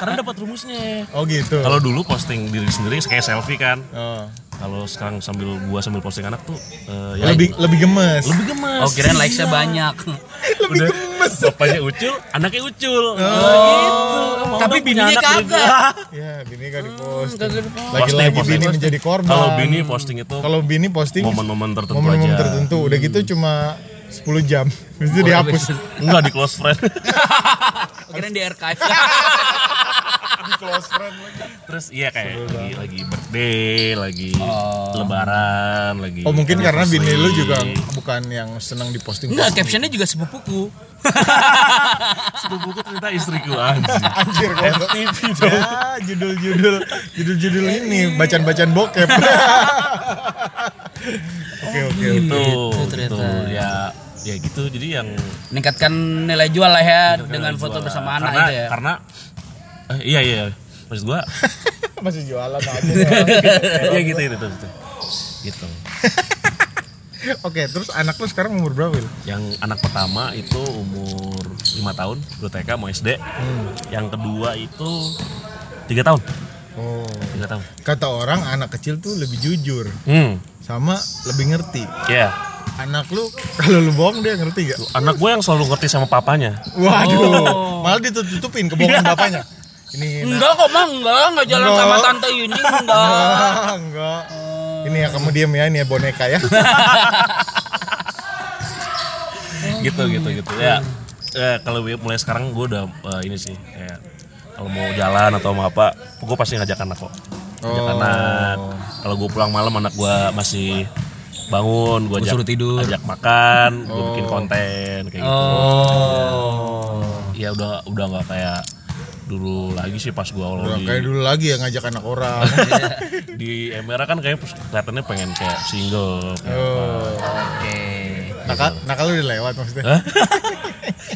karena dapat rumusnya
oh gitu
kalau dulu posting diri sendiri kayak selfie kan
oh.
kalau sekarang sambil gua sambil posting anak tuh eh, ya
lebih lebih gemes
lebih gemes
<laughs> Oh, kirain likes-nya
Iya.
banyak.
lebih
Udah,
gemes
bapaknya ucul anaknya ucul oh, gitu Mau
Tapi
dong punya
bininya
anak nih.
kagak.
ya bini gak diposting
kagak diposting.
lagi-lagi
Hmm, Posting,
bini
posting.
menjadi korban
Kalau bini posting itu
kalau bini posting
momen-momen tertentu
momen-momen
aja. Hmm.
tertentu udah gitu cuma 10 jam <laughs> habis itu
<laughs>
<laughs>
dihapus
Enggak di close friend. <laughs>
Oh, Kirain di archive. <laughs>
close friend lagi.
Terus iya kayak lagi, lagi birthday, lagi
Oh.
lebaran, lagi
oh mungkin karena
iya,
bini lu
anniversary.
juga bukan yang senang diposting
Enggak, captionnya juga sepupuku.
sepupuku ternyata istriku anjing.
anjir kalau
TV dong.
ya judul-judul judul-judul ini bacaan-bacaan <laughs> bokep oke oke oke.
Gitu,
Gitu
gitu.
ternyata.
Ya ya gitu jadi yang
Meningkatkan nilai jual lah ya dengan
yang
foto
jualan.
bersama anak
karena,
itu ya.
Karena eh, iya iya maksud
<laughs>
gua
masih jualan aja ya.
ya gitu itu itu, itu. Gitu.
<laughs> oke terus anak lu sekarang umur berapa Wil?
Yang anak pertama itu umur 5 tahun, 2 TK mau SD.
Hmm.
Yang kedua itu 3 tahun,
oh
3 tahun.
kata orang anak kecil tuh lebih jujur
Hmm.
sama lebih ngerti
Ya,
anak lu kalau lu bohong dia ngerti gak?
anak gue yang selalu ngerti sama papanya.
Waduh, malah ditutup-tutupin kebohongan bapaknya. Ini
Enggak kok, Mang. Enggak, enggak jalan
Enggak.
sama tante ini,
<laughs>
enggak.
enggak, enggak. Ini ya kamu diam ya, ini ya boneka ya.
Gitu gitu gitu. Ya, eh, kalau gue mulai sekarang gue udah eh, ini sih kayak kalau mau jalan atau mau apa, gue pasti ngajak anak kok.
Oh.
Ngajak anak. Kalau gue pulang malam anak gue masih bangun, gue ajak
suruh tidur. Oh.
ajak makan, gue bikin konten kayak gitu.
Oh.
Ya udah udah nggak kayak dulu lagi sih pas gue
Iya.
Udah
di
kayak dulu lagi ya ngajak anak
<laughs>
orang.
di Emera kan kayaknya kelihatannya pengen kayak single. kayak
Oh.
Oke. Iya.
Nakal, nakal udah lewat maksudnya.
Hah?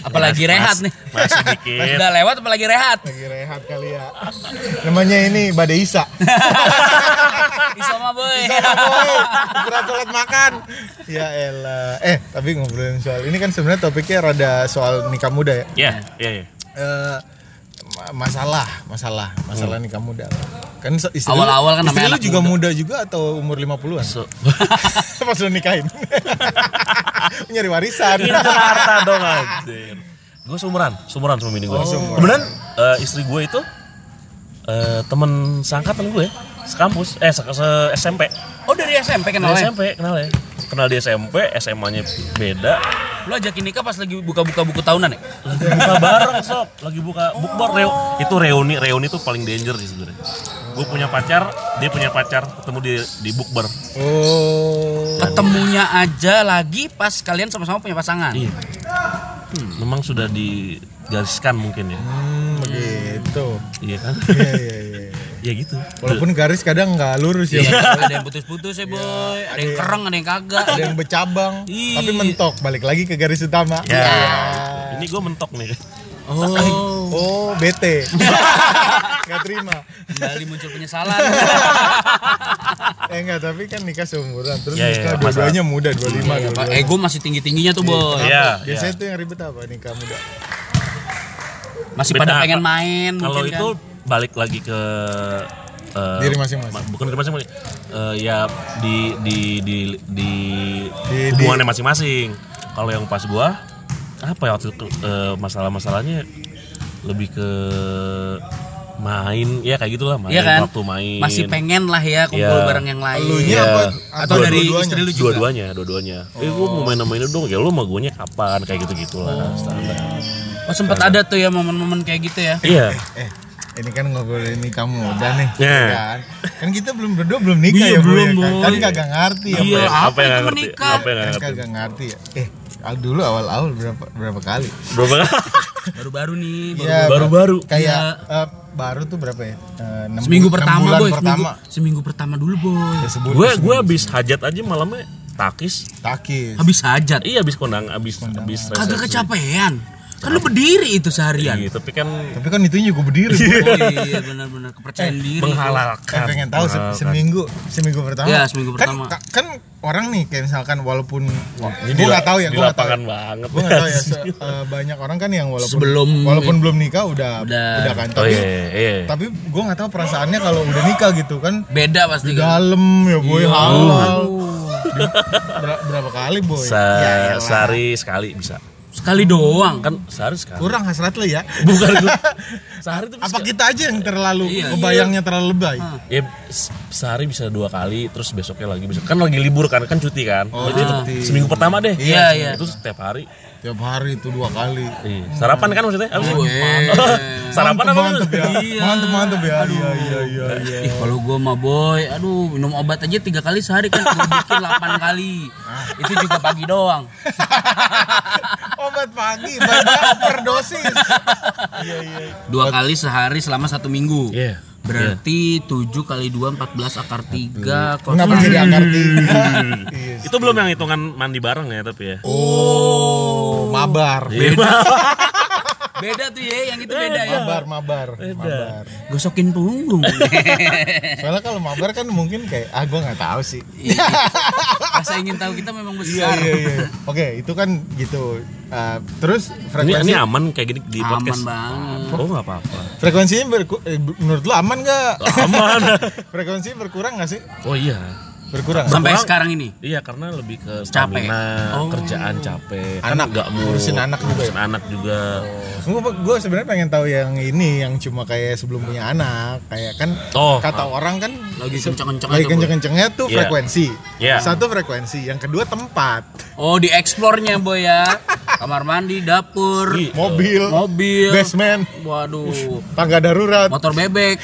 Apalagi rehat nih.
Masih
<laughs>
dikit.
Udah lewat apalagi rehat.
<laughs> Lagi rehat kali ya. Namanya ini Bade Isa.
<laughs> Iya. Bisa mah, Boy.
Berat sholat makan. Ya elah. Eh, tapi ngobrolin soal ini kan sebenarnya topiknya rada soal nikah muda ya.
Ya, ya, ya.
eh ma- masalah masalah masalah nikah muda kan se- istri
Hmm. Awal-awal kan
lu, istri
namanya
lu
anak
juga
muda.
muda. juga atau umur 50-an
So-
<laughs> pas lu nikahin
<laughs>
nyari warisan
Iya.
Ini harta dong anjir. Gue seumuran, seumuran sama bini gue. Kemudian eh, istri gue itu eh, temen seangkatan gue, sekampus, eh se, se- SMP.
Oh, dari SMP
Kenal
kenalnya.
SMP, kenal ya. Kenal di SMP, SMA-nya beda.
Lu ajakin nikah pas lagi buka-buka buku tahunan ya?
Lagi buka bareng sob, lagi buka bukber reu- itu reuni, reuni tuh paling danger sih sebenarnya. Gue punya pacar, dia punya pacar, ketemu di di bukber.
oh
kan
ketemunya aja lagi pas kalian sama-sama punya pasangan
Iya. Hmm. memang sudah digariskan mungkin ya
Hmm, begitu.
iya kan
Iya, iya, iya.
<laughs> ya gitu
Walaupun garis kadang nggak lurus
Iya,
Iya.
ya. Mas.
ada yang putus-putus ya boy ada yang kereng ada yang kagak
Ada yang bercabang,
Iya.
Ih.
tapi mentok balik lagi ke garis utama. Iya.
ya ini gue mentok nih
<laughs>
oh
Oh, <laughs> bete. Gak terima.
kembali muncul penyesalan
Eh enggak, tapi kan nikah seumuran. Terus
Iya, iya,
nikah
iya,
dua-duanya muda, 25
Iya, Pak.
dua-duanya.
ego masih tinggi tingginya tuh boy
Iya,
Apa? ya. Biasanya tuh yang ribet apa nikah muda?
masih
Beda
pada
apa?
pengen main
kalau
mungkin
itu
kan.
balik lagi ke eh,
Diri masing-masing.
ma- bukan diri masing-masing Eh, ya di di di di,
Di-
hubungannya masing-masing kalau yang pas gua apa ya waktu itu eh, masalah-masalahnya lebih ke main ya kayak gitulah main
Iya kan?
waktu main
masih pengen lah ya kumpul
Iya.
bareng yang lain
Elunya
Iya.
apa?
atau
apa
dari
dua-duanya? Oh.
istri lu juga
dua-duanya dua-duanya eh gua mau main main dong ya lu mau guanya kapan kayak gitu gitulah standar
oh, sempat ada tuh ya momen-momen kayak gitu ya
iya
Eh, ini kan ngobrolin nikah muda nih.
Iya.
Kan? kan kita belum berdua belum nikah
Iya,
ya, Bu,
belum,
ya kan? kan
Boy.
kagak ngerti ya, Bu,
Iya,
ya.
apa
yang
itu
nggak ngerti
menikah?
apa yang nggak
Kan
ngerti
kagak ngerti ya. Eh, al- dulu awal-awal berapa berapa kali?
berapa
baru-baru nih baru
Iya,
baru-baru
kayak
Iya.
eh, baru tuh berapa ya? Eh, enam
seminggu
bu- enam
pertama
bulan
boy
pertama.
Seminggu, seminggu pertama dulu boy
gue gue habis hajat aja malamnya takis
Takis.
habis hajat
iya habis kondang habis habis
kagak
resepsi.
kecapean kan lu berdiri itu seharian
Iya, tapi kan
Tapi kan itu
<laughs>
juga berdiri. Bu.
oh iya benar-benar kepercayaan diri
Kan
menghalalkan
pengen tahu se-
Menghalalkan.
seminggu seminggu pertama.
Iya, seminggu
Kan-
pertama.
Kan, orang nih kayak misalkan walaupun
Ini
gue
di-
nggak tahu ya,
Nah, di
gue nggak tahu.
lapangan banget
Gue nggak tahu ya. se- eh, banyak orang kan yang walaupun
Sebelum-
walaupun belum nikah udah
Udah.
udah kan.
<laughs> oh
Tapi
iya iya
tapi gue nggak tahu perasaannya kalau udah nikah gitu kan
beda pasti
di
kan
dalam ya boy
Iya.
halal.
Aduh.
Ber- berapa kali boy?
Sa
Ya elah.
sehari sekali bisa
sekali doang
kan sehari sekali
Kurang hasrat lu ya.
bukan gua.
<laughs>
sehari tuh
Apa gitu? kita aja yang
Iya,
terlalu kebayangnya terlalu lebay?
ya se- sehari bisa dua kali terus besoknya lagi besok kan lagi libur kan kan cuti kan
Oh,
Jadi itu
cuti.
seminggu pertama deh
Iya, iya.
itu setiap hari
Tiap hari itu dua kali.
Iya. sarapan kan maksudnya apa sih <laughs> sarapan
Oh, iya. Mantep
apa
mantep ya.
Iya.
Mantep mantep ya. Iya iya iya. iya.
Ih, kalau gua mah boy, aduh minum obat aja tiga kali sehari kan gua bikin 8 kali.
Ah.
Itu juga pagi doang.
Obat pagi banyak overdosis. Iya,
Dua kali sehari selama satu minggu.
Iya.
Berarti 7 kali 2 14 akar 3
Kenapa jadi akar
<laughs>
tiga? Iya.
itu belum yang hitungan mandi bareng ya tapi ya
Oh, mabar.
Iya.
Beda tuh ya, yang itu beda ya.
Mabar, mabar, mabar.
Gosokin
<laughs>
punggung.
Soalnya kalau mabar kan mungkin kayak ah gua nggak tahu sih.
Rasa ingin tahu kita memang
Iya
besar.
iya iya. Oke, itu kan gitu. Eh, terus
ini,
frekuensi
ini aman kayak gini di
Aman
podcast
banget.
oh nggak apa-apa
frekuensinya berku- eh, menurut lu aman nggak? <laughs>
aman
Frekuensinya berkurang nggak sih?
oh iya
Berkurang.
Sampai
Kurang-
sekarang ini.
iya karena lebih ke
Capek.
stamina, kerjaan capek Kan
Oh. Anak.
nggak mau
Ngurusin anak juga ya?
ngurusin anak juga
gue sebenarnya pengen tahu yang ini yang cuma kayak sebelum punya anak kayak kan
Oh.
kata orang kan
Lagi kenceng-kencengnya
lagi
tuh,
kenceng-kencengnya tuh
Iya.
frekuensi
Iya.
satu frekuensi yang kedua tempat
Oh, di eksplornya boy ya. Kamar mandi, dapur,
Iya.
Ih,
mobil
mobil.
basement
Waduh,
tangga darurat
motor bebek.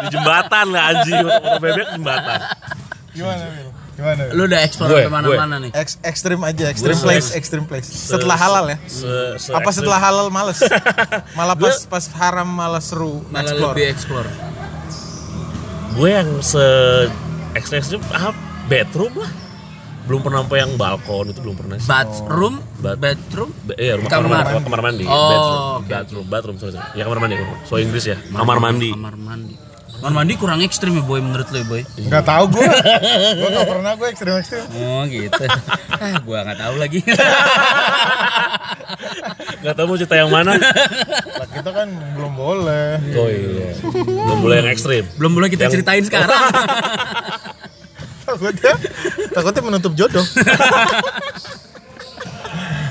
di jembatan lah anjing Motor bebek jembatan
gimana Wil? gimana Wil?
Lu udah eksplor
Gue,
kemana-mana nih.
Ex- ekstrim aja ekstrim
Gua
place
se-
ekstrim place setelah halal ya
Se- se-
apa setelah halal males malah
Gua-
pas pas haram malah seru
Malah
explore
lebih eksplor.
gue yang se ekstrim ekstrim ah, bedroom lah belum pernah sampai yang balkon itu belum pernah sih
Bathroom,
Oh. Bath-
bedroom,
Be- iya, rumah
Kamar
kamar,
mandi.
kamar, kamar mandi.
Oh,
bathroom,
oke,
bathroom, bathroom, sorry, sorry. Ya kamar mandi. So Inggris ya. Kamar mandi.
kamar mandi. Kamar mandi kurang ekstrim ya boy menurut lo ya boy?
nggak tahu gue gue nggak pernah gue ekstrim ekstrim
Oh <laughs> gitu. ah, gua nggak tahu lagi.
Gak tau mau cerita yang
<laughs>
mana.
Lah, kita kan belum boleh
oh iya. Belum boleh yang ekstrim.
<laughs> Belum boleh kita
Yang-
ceritain
<laughs>
sekarang.
takutnya takutnya menutup jodoh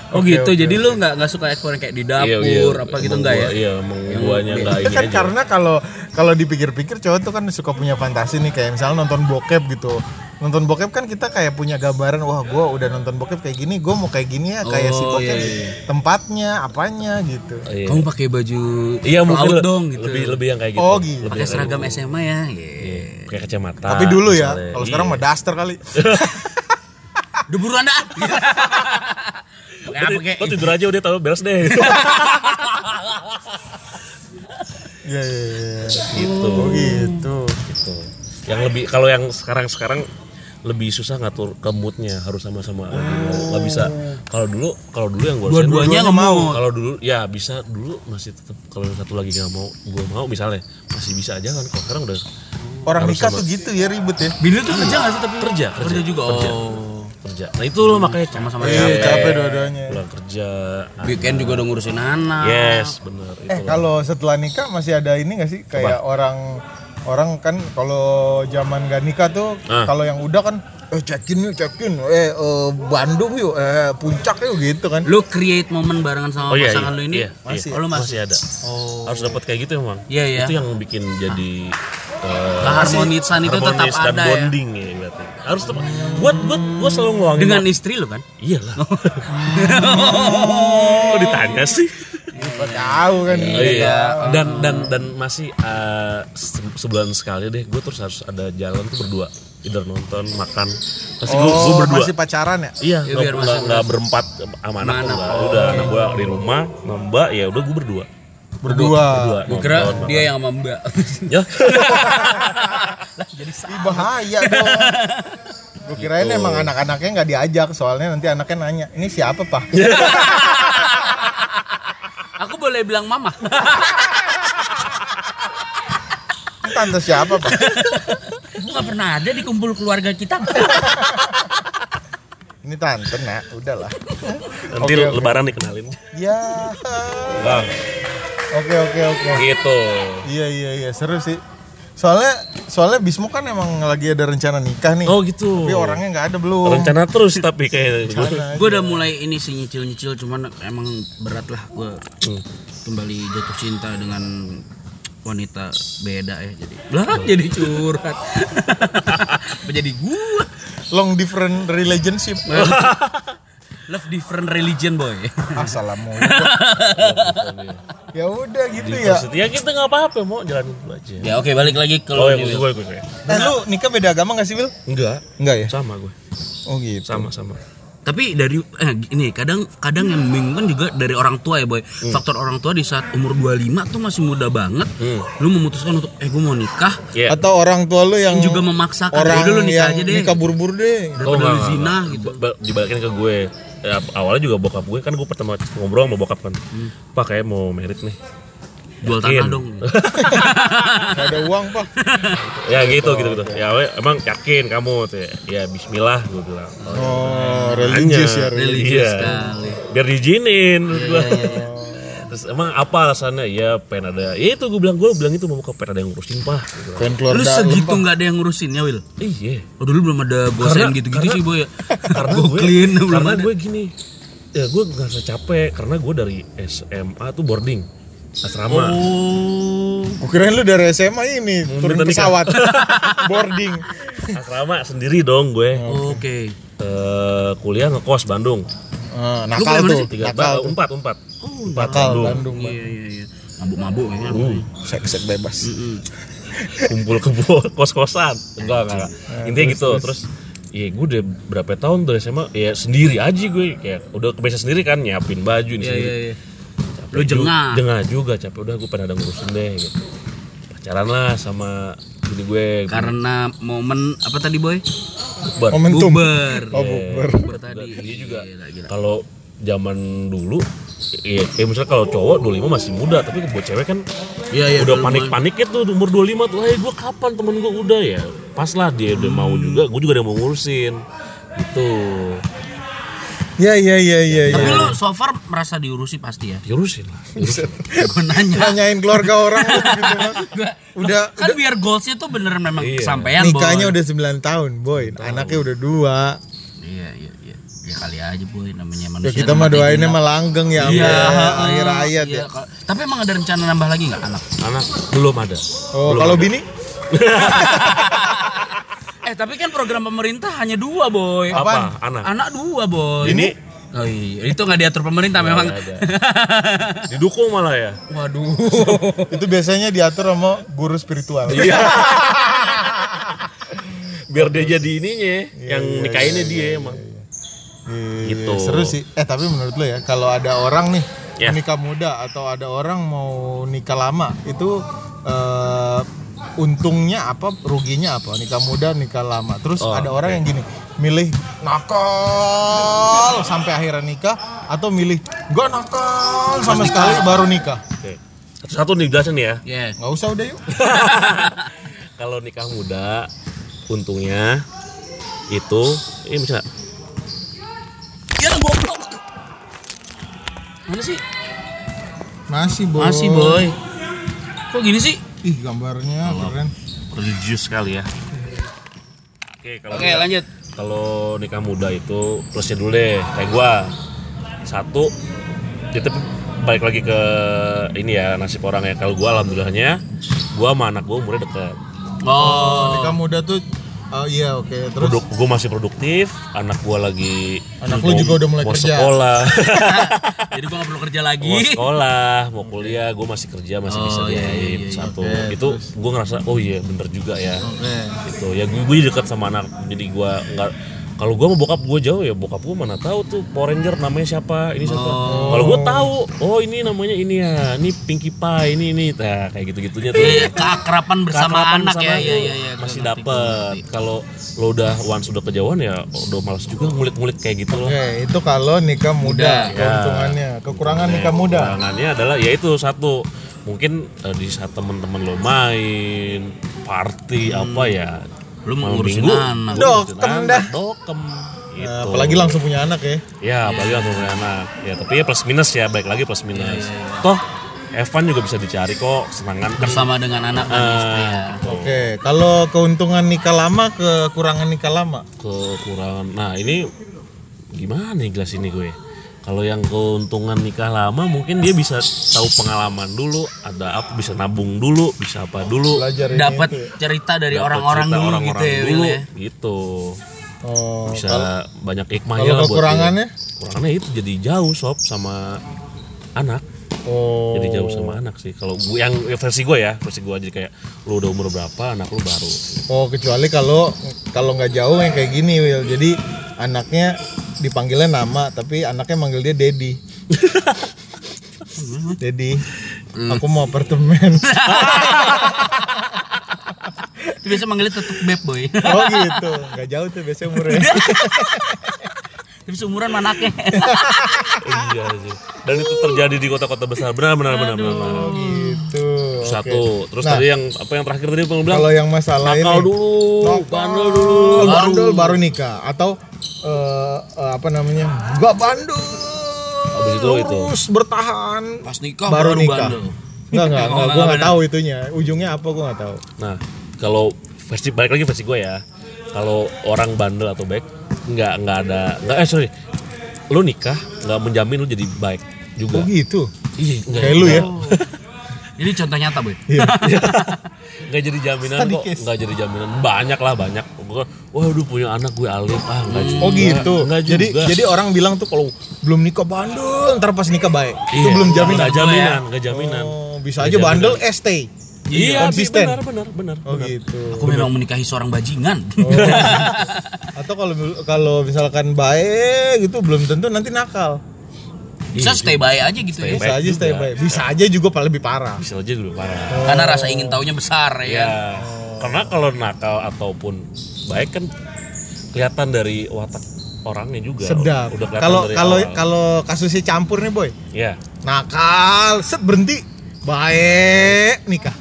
Oh gitu, jadi lu nggak nggak suka ekspor yang kayak di
Iya,
dapur
iya.
apa
Emang
gitu enggak ya?
gua- Iya, emang guanya enggak ini
kan
aja.
karena kalau kalau dipikir-pikir cowok tuh kan suka punya fantasi nih kayak misalnya nonton bokep gitu nonton bokep kan kita kayak punya gambaran wah gue udah nonton bokep kayak gini gue mau kayak gini ya kayak si
Oh,
bokep
iya, iya.
tempatnya apanya gitu
Iya.
Kamu pakai baju
Iya, mungkin
laut
le-
dong gitu.
Lebih lebih yang kayak gitu.
Oh, gitu.
Lebih
pakai
yang kayak
seragam
gitu.
SMA ya. Iya.
Pakai kacamata.
tapi dulu ya
Ah, misalnya.
kalau sekarang
Iya.
mah daster kali
Udah buruan
<laughs>
dah.
Iya.
Pakai apa
Lo
kayak?
tidur aja udah tahu beres
<laughs>
deh.
Iya, iya, iya.
gitu.
Oh, gitu
gitu. Yang lebih kalau yang sekarang-sekarang lebih susah ngatur ke moodnya harus sama-sama nggak bisa kalau dulu kalau dulu yang gue
Dua-duanya nggak mau.
kalau dulu ya bisa dulu masih tetap kalau yang satu lagi nggak mau gue mau misalnya masih bisa aja kan kalau sekarang udah
orang
Harus
nikah
sama.
tuh gitu ya ribet ya
Bini tuh kerja nggak sih tapi
kerja kerja,
kerja juga.
kerja,
Oh.
kerja. nah itu loh makanya sama-sama
Iya, capek dua-duanya
pulang kerja
ya. Weekend juga udah ngurusin anak.
Iya, yes bener
Eh
itu loh.
kalau setelah nikah masih ada ini nggak sih kayak orang orang kan kalau zaman gak nikah tuh
Ah.
kalau yang udah kan eh cekin yuk cekin eh eh, Bandung yuk eh puncak yuk gitu
Iya.
kan.
Lu create momen barengan sama
Oh, iya,
pasangan
iya,
lu ini.
iya,
masih.
iya.
Oh, lu masih. Oh.
masih ada harus dapat kayak gitu emang
Iya, iya.
itu yang bikin jadi eh,
Keharmonisan Kan itu tetap
harmonis dan
ada ya.
bonding ya, berarti harus tetap buat buat gua selalu ngeluangin
Dengan
waktu.
istri lu
<laughs>
kan?
iyalah kok ditanya sih
Gak tahu kan.
Iya.
Oh, dan dan dan masih eh, se- sebulan sekali deh gue terus harus ada jalan tuh berdua either nonton makan pasti gue
Oh,
berdua
masih pacaran ya?
Iya,
Ya,
nggak-
biar
nggak nggak berempat sama anak
Sama anak.
tuh
Oh.
nggak. Udah anak gua di rumah, sama Mbak ya udah gua berdua.
Berdua.
Berdua.
Gue kira
nonton,
dia
makan.
yang sama Mbak. <laughs>
Ya.
Ih, bahaya
<laughs>
dong. Gue kirain
Gitu.
emang anak-anaknya nggak diajak soalnya nanti anaknya nanya ini siapa pak?
Iya.
Aku boleh bilang mama.
Ini Tante siapa pak? <laughs>
Aku gak pernah ada di kumpul keluarga kita.
Ini tante nak, udahlah.
<laughs> Nanti
Oke, oke.
lebaran dikenalin.
Ya.
Bang,
Oke oke oke.
gitu.
Iya iya iya seru sih. Soalnya soalnya Bismo kan emang lagi ada rencana nikah nih.
Oh gitu.
Tapi orangnya nggak ada belum.
Rencana terus tapi kayak
gue udah mulai ini sih nyicil-nyicil cuman emang berat lah gue
Hmm.
kembali jatuh cinta dengan wanita beda ya jadi lah <laughs> jadi curhat apa jadi gue
Long different relationship.
Nah.
<laughs>
love different religion boy
Assalamualaikum. ya udah gitu
Iya.
ya.
Setia kita nggak apa-apa mau jalanin dulu aja.
ya oke balik lagi ke
Oh,
lo
yang gue gue gue.
Eh lu nikah beda agama gak sih Wil?
Enggak,
Enggak ya?
sama gue.
Oh gitu.
Sama sama.
tapi dari eh, ini kadang kadang yang membingungkan juga dari orang tua ya boy
Hmm.
faktor orang tua di saat umur 25 tuh masih muda banget
Hmm.
lu memutuskan untuk eh gue mau nikah
Iya.
Atau orang tua lu yang
juga memaksakan
orang
udah lu nikah
yang
aja deh
nikah buru-buru deh.
daripada lu
nggak, nggak,
zina
nggak.
gitu
Ba- dibalikin ke gue Ya, awalnya juga bokap gue kan gue pertama ngobrol sama bokap kan
Hmm.
pak kayak mau merit nih
jual tanah
Yakin. <laughs>
dong
Gak ada uang
<laughs>
pak.
ya gitu gitu gitu ya we, emang yakin kamu tuh ya, ya Bismillah gue bilang oh,
Oh
Iya.
religius ya.
religius
religius.
sekali
biar diizinin menurut
Iya,
gue <laughs> terus emang apa alasannya ya pengen ada ya itu gue bilang gue bilang itu mau buka pengen ada yang ngurusin pak Gua bilang,
Pengen keluar
lu
dalam,
segitu
Pak.
nggak ada yang ngurusin ya Wil
iya
Oh dulu belum ada bosen
Karena-
gitu-gitu
karena-
sih boy ya.
<laughs> karena
Go
gue
clean belum
karena
ada.
gue gini ya gue ngerasa capek karena gue dari SMA tuh boarding asrama
Oh.
Gua kirain lu dari SMA ini turun
minta nikah.
pesawat boarding.
asrama sendiri dong gue
Oh. Oke.
eh kuliah ngekos Bandung
Ah,
Lu
nakal
kayak mana
tuh,
sih?
tiga
nakal
ba-
tuh.
empat empat empat
Nakal
Bandung
Bandung. Pak.
Iya iya iya. Mabuk-mabuk
Hmm,
kayaknya.
Sek-sek bebas.
kumpul ke <laughs> kos kosan enggak enggak enggak.
Eh,
intinya gitu terus Iya gue udah berapa tahun tuh SMA ya sendiri aja gue kayak udah kebiasa sendiri kan nyiapin baju ini
Iya
sendiri
iya iya. Lu jengah.
jengah juga capek udah gue pernah ada ngurusin deh gitu. pacaran lah sama ini gue
Karena momen apa tadi boy?
Bukber.
Momentum.
Buber.
Oh, bukber.
Buber tadi.
Dia juga
Gila, gila.
kalau zaman dulu ya, ya misalnya kalau cowok 25 masih muda tapi buat cewek kan
Iya iya.
udah
dulu mah.
panik-paniknya tuh umur 25 tuh, "Hei, gua kapan temen gua udah ya?" Pas lah dia udah mau juga, gua juga udah mau ngurusin. Gitu.
Ya ya ya ya ya.
Tapi lu so far merasa diurusi pasti ya.
Diurusin lah. Diurusin.
Gue nanya.
<laughs> Nanyain keluarga orang lu gitu Mas. Udah
Kan biar goalsnya tuh beneran memang
Iya.
kesampaian boy.
nikahnya udah 9 tahun, boy. Anaknya udah dua.
Iya iya iya.
ya kali aja boy namanya
Ya
manusia
kita mah
namanya
doainnya
gila.
mah langgeng ya ampun.
Iya,
akhir ayat
Iya,
ya.
kalau- tapi emang ada rencana nambah lagi nggak
<laughs>
anak
anak belum ada
Oh, kalau bini?
eh tapi kan program pemerintah hanya dua boy
apa
Apaan?
anak
anak dua boy
ini
oh, iya. itu nggak diatur pemerintah memang
didukung malah ya <laughs>
waduh
Itu biasanya diatur sama guru spiritual.
biar dia jadi ininya
Iya,
yang nikahinnya dia emang Gitu.
Gitu. Seru sih. Eh tapi menurut lo ya, kalau ada orang nih
Ya.
nikah muda atau ada orang mau nikah lama, itu eh, untungnya apa, ruginya apa? Nikah muda, nikah lama. Terus
Oh,
ada orang yang gini, milih nakal sampai akhirnya nikah atau milih gak nakal sama sekali baru nikah.
Oke. satu-satu nih jelasin nih ya
yes
nggak usah udah yuk.
kalau nikah muda untungnya itu ini bisa
ya goblok mana sih
Masih boy.
masih boy kok gini sih
Ih gambarnya keren.
religius sekali ya oke kalau
oke lanjut
kalau nikah muda itu plusnya dulu deh kayak gua satu tetep balik lagi ke ini ya nasib orang ya kalau gua alhamdulillahnya gua sama anak gua umurnya deket
oh
Nikah muda tuh oh iya oke terus
Produk, gua masih produktif anak gua lagi
Anak lu juga udah mulai
mau
kerja.
sekolah
<laughs>
jadi gua nggak perlu kerja
mau
lagi
sekolah mau kuliah gua masih kerja masih
Oh,
bisa
iya,
diain
iya, iya.
satu
Oke,
itu gua ngerasa oh iya bener juga ya
Oke.
gitu ya gue, gue dekat sama anak jadi gue nggak kalau gue mau bokap gue jauh ya bokap gue mana tahu tuh Power Ranger namanya siapa ini siapa kalau gue tahu oh ini namanya ini ya ini Pinkie Pie ini ini nah kayak gitu gitunya tuh
Iya, keakraban bersama
Keakraban
anak
bersama
ya,
tuh
ya, ya, ya,
masih
gua ngerti, gua
dapet
ngerti.
kalau lo udah once udah kejauhan ya udah males juga ngulik-ngulik kayak gitu loh
Oke, itu kalau nikah muda,
ya.
Muda,
keuntungannya, kekurangan nikah muda.
Tantangannya adalah ya itu satu mungkin eh, di saat teman-teman lo main party apa ya
Lu
malam
ngurusin
minggu,
anak.
lu ngurusin
Hmm. Dokem
anak,
dah.
dokem gitu.
Nah, apalagi langsung punya anak ya.
ya apalagi langsung punya anak ya tapi ya plus minus ya baik lagi plus minus toh Evan juga bisa dicari kok senangan kan
bersama dengan anak dan istri ya.
Oke, kalau keuntungan nikah lama, kekurangan nikah lama.
kekurangan nah ini gimana nih gelas ini gue kalau yang keuntungan nikah lama mungkin dia bisa tahu pengalaman dulu ada apa bisa nabung dulu bisa apa dulu
Belajar ini
dapat
itu ya.
cerita dari
Dapat
orang-orang
cerita
dulu gitu ya, Wil, ya.
gitu
Oh,
bisa
kalau-
banyak hikmahnya
kalau
lah buat dia.
kekurangannya?
kekurangannya itu jadi jauh sob sama anak
Oh.
jadi jauh sama anak sih kalau gue yang versi gue ya versi gue jadi kayak lu udah umur berapa anak lu
<laughs>
baru
Oh, kecuali kalau kalau nggak jauh yang kayak gini, Will. Jadi anaknya dipanggilnya nama, tapi anaknya manggil dia
<laughs>
Dedi. Dedi,
Hmm.
aku mau apartemen. <laughs>
Itu biasa manggilnya tetep beb boy. <laughs>
Oh gitu, nggak jauh tuh biasanya
<laughs>
umurnya.
Tapi seumuran sama anaknya.
iya sih dan itu terjadi di kota-kota besar benar benar benar benar, benar.
gitu. oke.
satu terus
Nah.
tadi yang apa yang terakhir tadi bang bilang
Kalau yang masalah
nakal
ini,
dulu bandel dulu
Oh, bandel baru nikah atau eh, eh, apa namanya? Gak bandel.
Habis itu, itu.
Terus bertahan
Pas nikah
baru nikah.
bandel. Oh,
Enggak, enggak, enggak, gue
nggak
nggak tahu itunya. Ujungnya apa gue nggak tahu.
nah kalau versi balik lagi versi gue ya kalau orang bandel atau baik nggak nggak ada nggak eh sorry lu nikah nggak menjamin lu jadi baik
Oh
juga
gitu.
iya nggak-
Kayak lu ya.
Ini contoh nyata boy.
Iya.
<laughs> nggak jadi jaminan
Study
kok
case.
nggak jadi jaminan banyak lah banyak Gua, wah udah punya anak gue alif ah nggak juga
Oh gitu.
nggak juga
Jadi jadi orang bilang tuh kalau belum nikah bandel, ntar pas nikah baik. Itu
Iya,
belum jaminan.
nggak jaminan nggak jaminan
Oh, bisa
Nggak
aja
jaminan.
bandel eh stay.
iya
konsisten.
benar benar benar
Oh
benar.
gitu.
Aku memang menikahi seorang bajingan.
Oh, iya, <laughs> Atau kalau kalau misalkan baik gitu belum tentu nanti nakal.
<laughs> Bisa stay by aja gitu ya.
Stay by.
Bisa
Baik
aja stay
juga.
baik. Bisa aja juga paling lebih parah.
bisa aja dulu parah
Karena rasa ingin taunya besar
ya
ya.
karena kalau nakal ataupun baik kan kelihatan dari watak orangnya juga
Sedap.
udah kelihatan
Kalau
dari
kalau
awal.
kalau kasusnya campur nih boy.
ya
Nakal, set berhenti. Baik, nikah.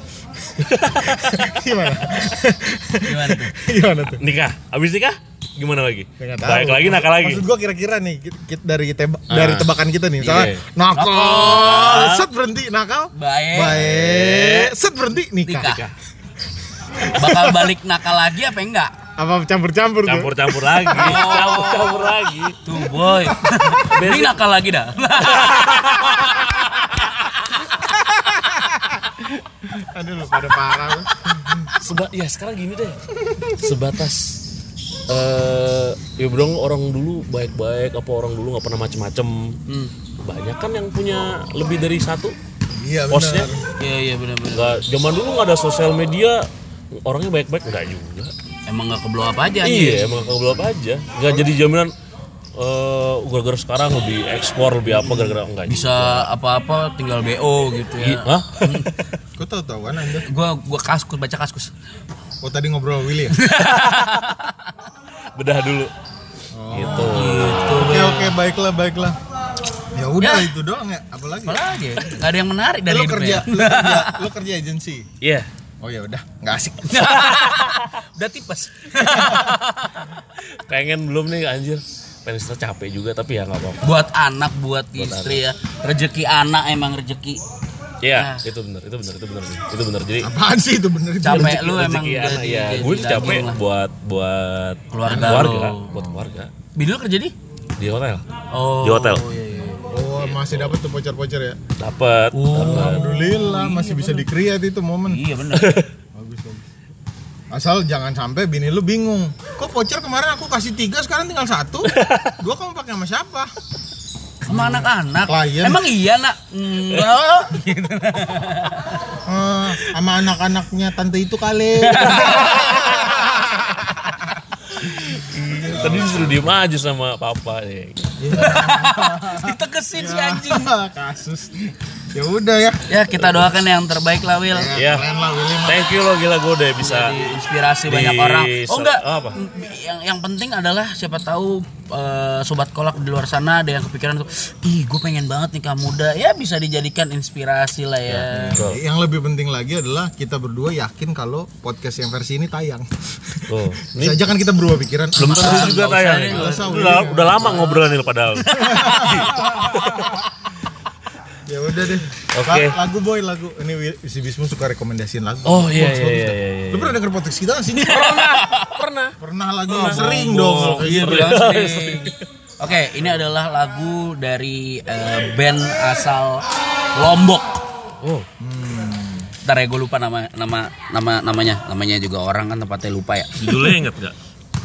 <laughs> Gimana?
Gimana tuh?
<laughs> Gimana tuh?
nikah abis nikah gimana lagi
Ya, nggak tahu.
baik lagi nakal lagi Ah.
Maksud gua kira-kira nih ki- ki- dari teba- dari tebakan kita nih, misalnya
Iya.
nakal,
Nakal.
set berhenti nakal,
Baik.
baik, set berhenti nikah.
Nikah. Bakal balik nakal lagi apa enggak?
Apa campur-campur tuh?
campur-campur
<laughs>
lagi campur-campur lagi
Tuh boy. Ini nakal lagi
<laughs>
dah.
Aduh lu pada parah. lu.
Seba ya sekarang gini deh sebatas eh ya bilang orang dulu baik-baik apa orang dulu nggak pernah macem-macem
Hmm.
banyak kan yang punya lebih dari satu
Iya
posnya
Iya iya benar-benar.
nggak zaman dulu nggak ada sosial media orangnya baik-baik nggak juga
Emang nggak keblow apa aja anjing.
iya emang kegelap aja nggak jadi jaminan eh gara-gara sekarang lebih ekspor lebih apa gara-gara enggak
Bisa apa-apa tinggal BO gitu ya.
Hah? <laughs>
Kok tahu-tahu kan Anda?
Gua gua kaskus baca
<laughs>
kaskus.
Oh tadi ngobrol sama Willy ya?
bedah dulu gitu
Oke oke baiklah baiklah. Ya
Ya.
udah itu doang ya, apalagi.
Apalagi ya? Nggak ada yang menarik dari
Lu kerja,
hidupnya.
lu kerja, lu kerja agensi.
iya
Oh ya udah, nggak asik.
Udah tipes.
pengen belum nih anjir pengen istirahat capek juga tapi ya nggak apa-apa
<laughs> buat anak, buat, istri ya. Rezeki anak emang rezeki.
Iya, itu benar, itu benar, itu benar, itu benar. Jadi
<laughs> Apaan sih itu bener itu?
Capek lu emang
rezeki anak
jadi-
ya,
jadi
gue udah
daging
capek
lah.
buat buat
Keluarga lo.
buat keluarga
Bini lu kerja di?
di hotel.
Oh.
Di hotel.
iya, iya.
Oh masih dapat tuh voucher-voucher ya?
Dapat, dapat.
Alhamdulillah masih bisa di-create itu momen.
Oh, Iya
<laughs>
benar.
Bagus bagus. Asal jangan sampai bini lu bingung. Kok voucher kemarin aku kasih tiga sekarang tinggal <laughs> satu? Gua kamu pakai sama siapa?
Sama anak-anak.
Klien.
Emang iya
<laughs>
nak? <laughs> Enggak.
Eh, sama anak-anaknya tante itu kali.
Tadi disuruh diem aja sama papa nih.
Ditegesin si anjing.
Ah, Kasus. Ya udah ya.
Ya kita doakan yang terbaik lah Will.
Ya.
Keren lah Willy.
Thank you lo gila gue udah bisa
Jadi inspirasi
Di-
banyak orang. Oh enggak.
apa?
Yang yang penting adalah siapa tahu eh, sobat kolak di luar sana ada yang kepikiran tuh, ih gue pengen banget nikah muda. Ya bisa dijadikan inspirasi lah ya.
Yang lebih penting lagi adalah kita berdua yakin kalau podcast yang versi ini tayang.
tuh.
Bisa aja kan kita berubah pikiran.
Belum tentu
usah,
juga
nggak usah
tayang.
deh, nggak
usah,
Udah,
Willy.
udah lama ngobrol nih lo padahal.
Ya udah deh.
Oke.
La- Lagu boy lagu. Ini Wil- si Bismu suka rekomendasiin lagu.
<laughs> Oh iya
Bagus,
iya
bagus,
iya.
dah.
iya, iya.
Lu pernah denger podcast kita nggak sih? Pernah.
Pernah.
Pernah lagi sering dong.
Iya,
Sering.
bilang sering. Oke, ini adalah lagu dari eh, band asal Lombok.
Oh.
Ntar ya gue lupa nama nama nama namanya. Namanya juga orang kan tempatnya lupa ya.
Judulnya inget nggak?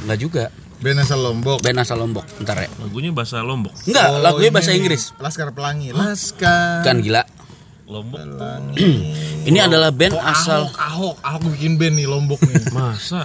Enggak juga.
Band asal Lombok.
Band asal Lombok. Ntar ya.
Lagunya bahasa Lombok.
Enggak,
Oh,
lagunya
ini
bahasa
nih,
Inggris.
Laskar Pelangi. Laskar.
Kan gila.
Lombok.
Ini adalah band Kan asal
Ahok, Ahok, Ahok bikin band nih Lombok nih.
Masa?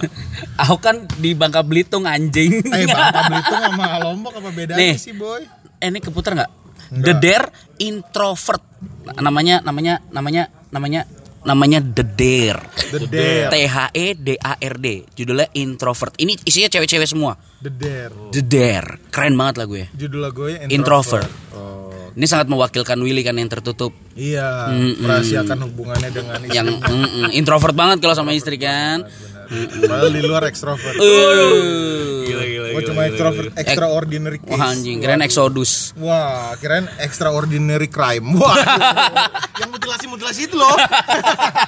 Ahok kan di Bangka Belitung anjing.
eh, Bangka Belitung sama Lombok apa bedanya
Nih.
sih, boy?
<laughs> Eh, ini keputar nggak? The Dare Introvert. Nah, Namanya namanya namanya namanya namanya The Dare.
The Dare.
T H E D A R D. Judulnya Introvert. Ini isinya cewek-cewek semua.
The Dare.
The Dare. Keren banget lagunya.
Judul lagunya
Introvert.
Introvert. Oh.
Ini sangat mewakilkan Willy kan yang tertutup,
Iya,
Mm-mm.
merahasiakan hubungannya dengan istri. <laughs>
yang mm, mm, introvert banget kalau sama istri kan.
Padahal di luar
Eh.
ekstrovert.
Uh.
Gila gila.
Gue cuma ekstrovert, extraordinary case.
Wah anjing, keren Exodus.
Wah, kirain extraordinary crime. Wah, <laughs> yang mutilasi-mutilasi itu loh. <laughs>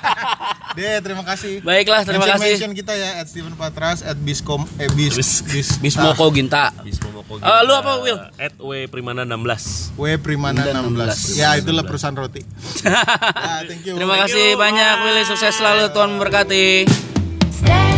Deh, terima kasih.
Baiklah, terima
Mention-
kasih.
Mention kita ya at Steven Patras at Biscom eh Bis Bis
Bismoko Ginta. Ah, lu apa, Will?
At W Primana 16.
W Primana 16. Ya, itulah perusahaan roti. ya, thank you.
Terima kasih banyak Willy, sukses selalu Tuhan memberkati.
Stay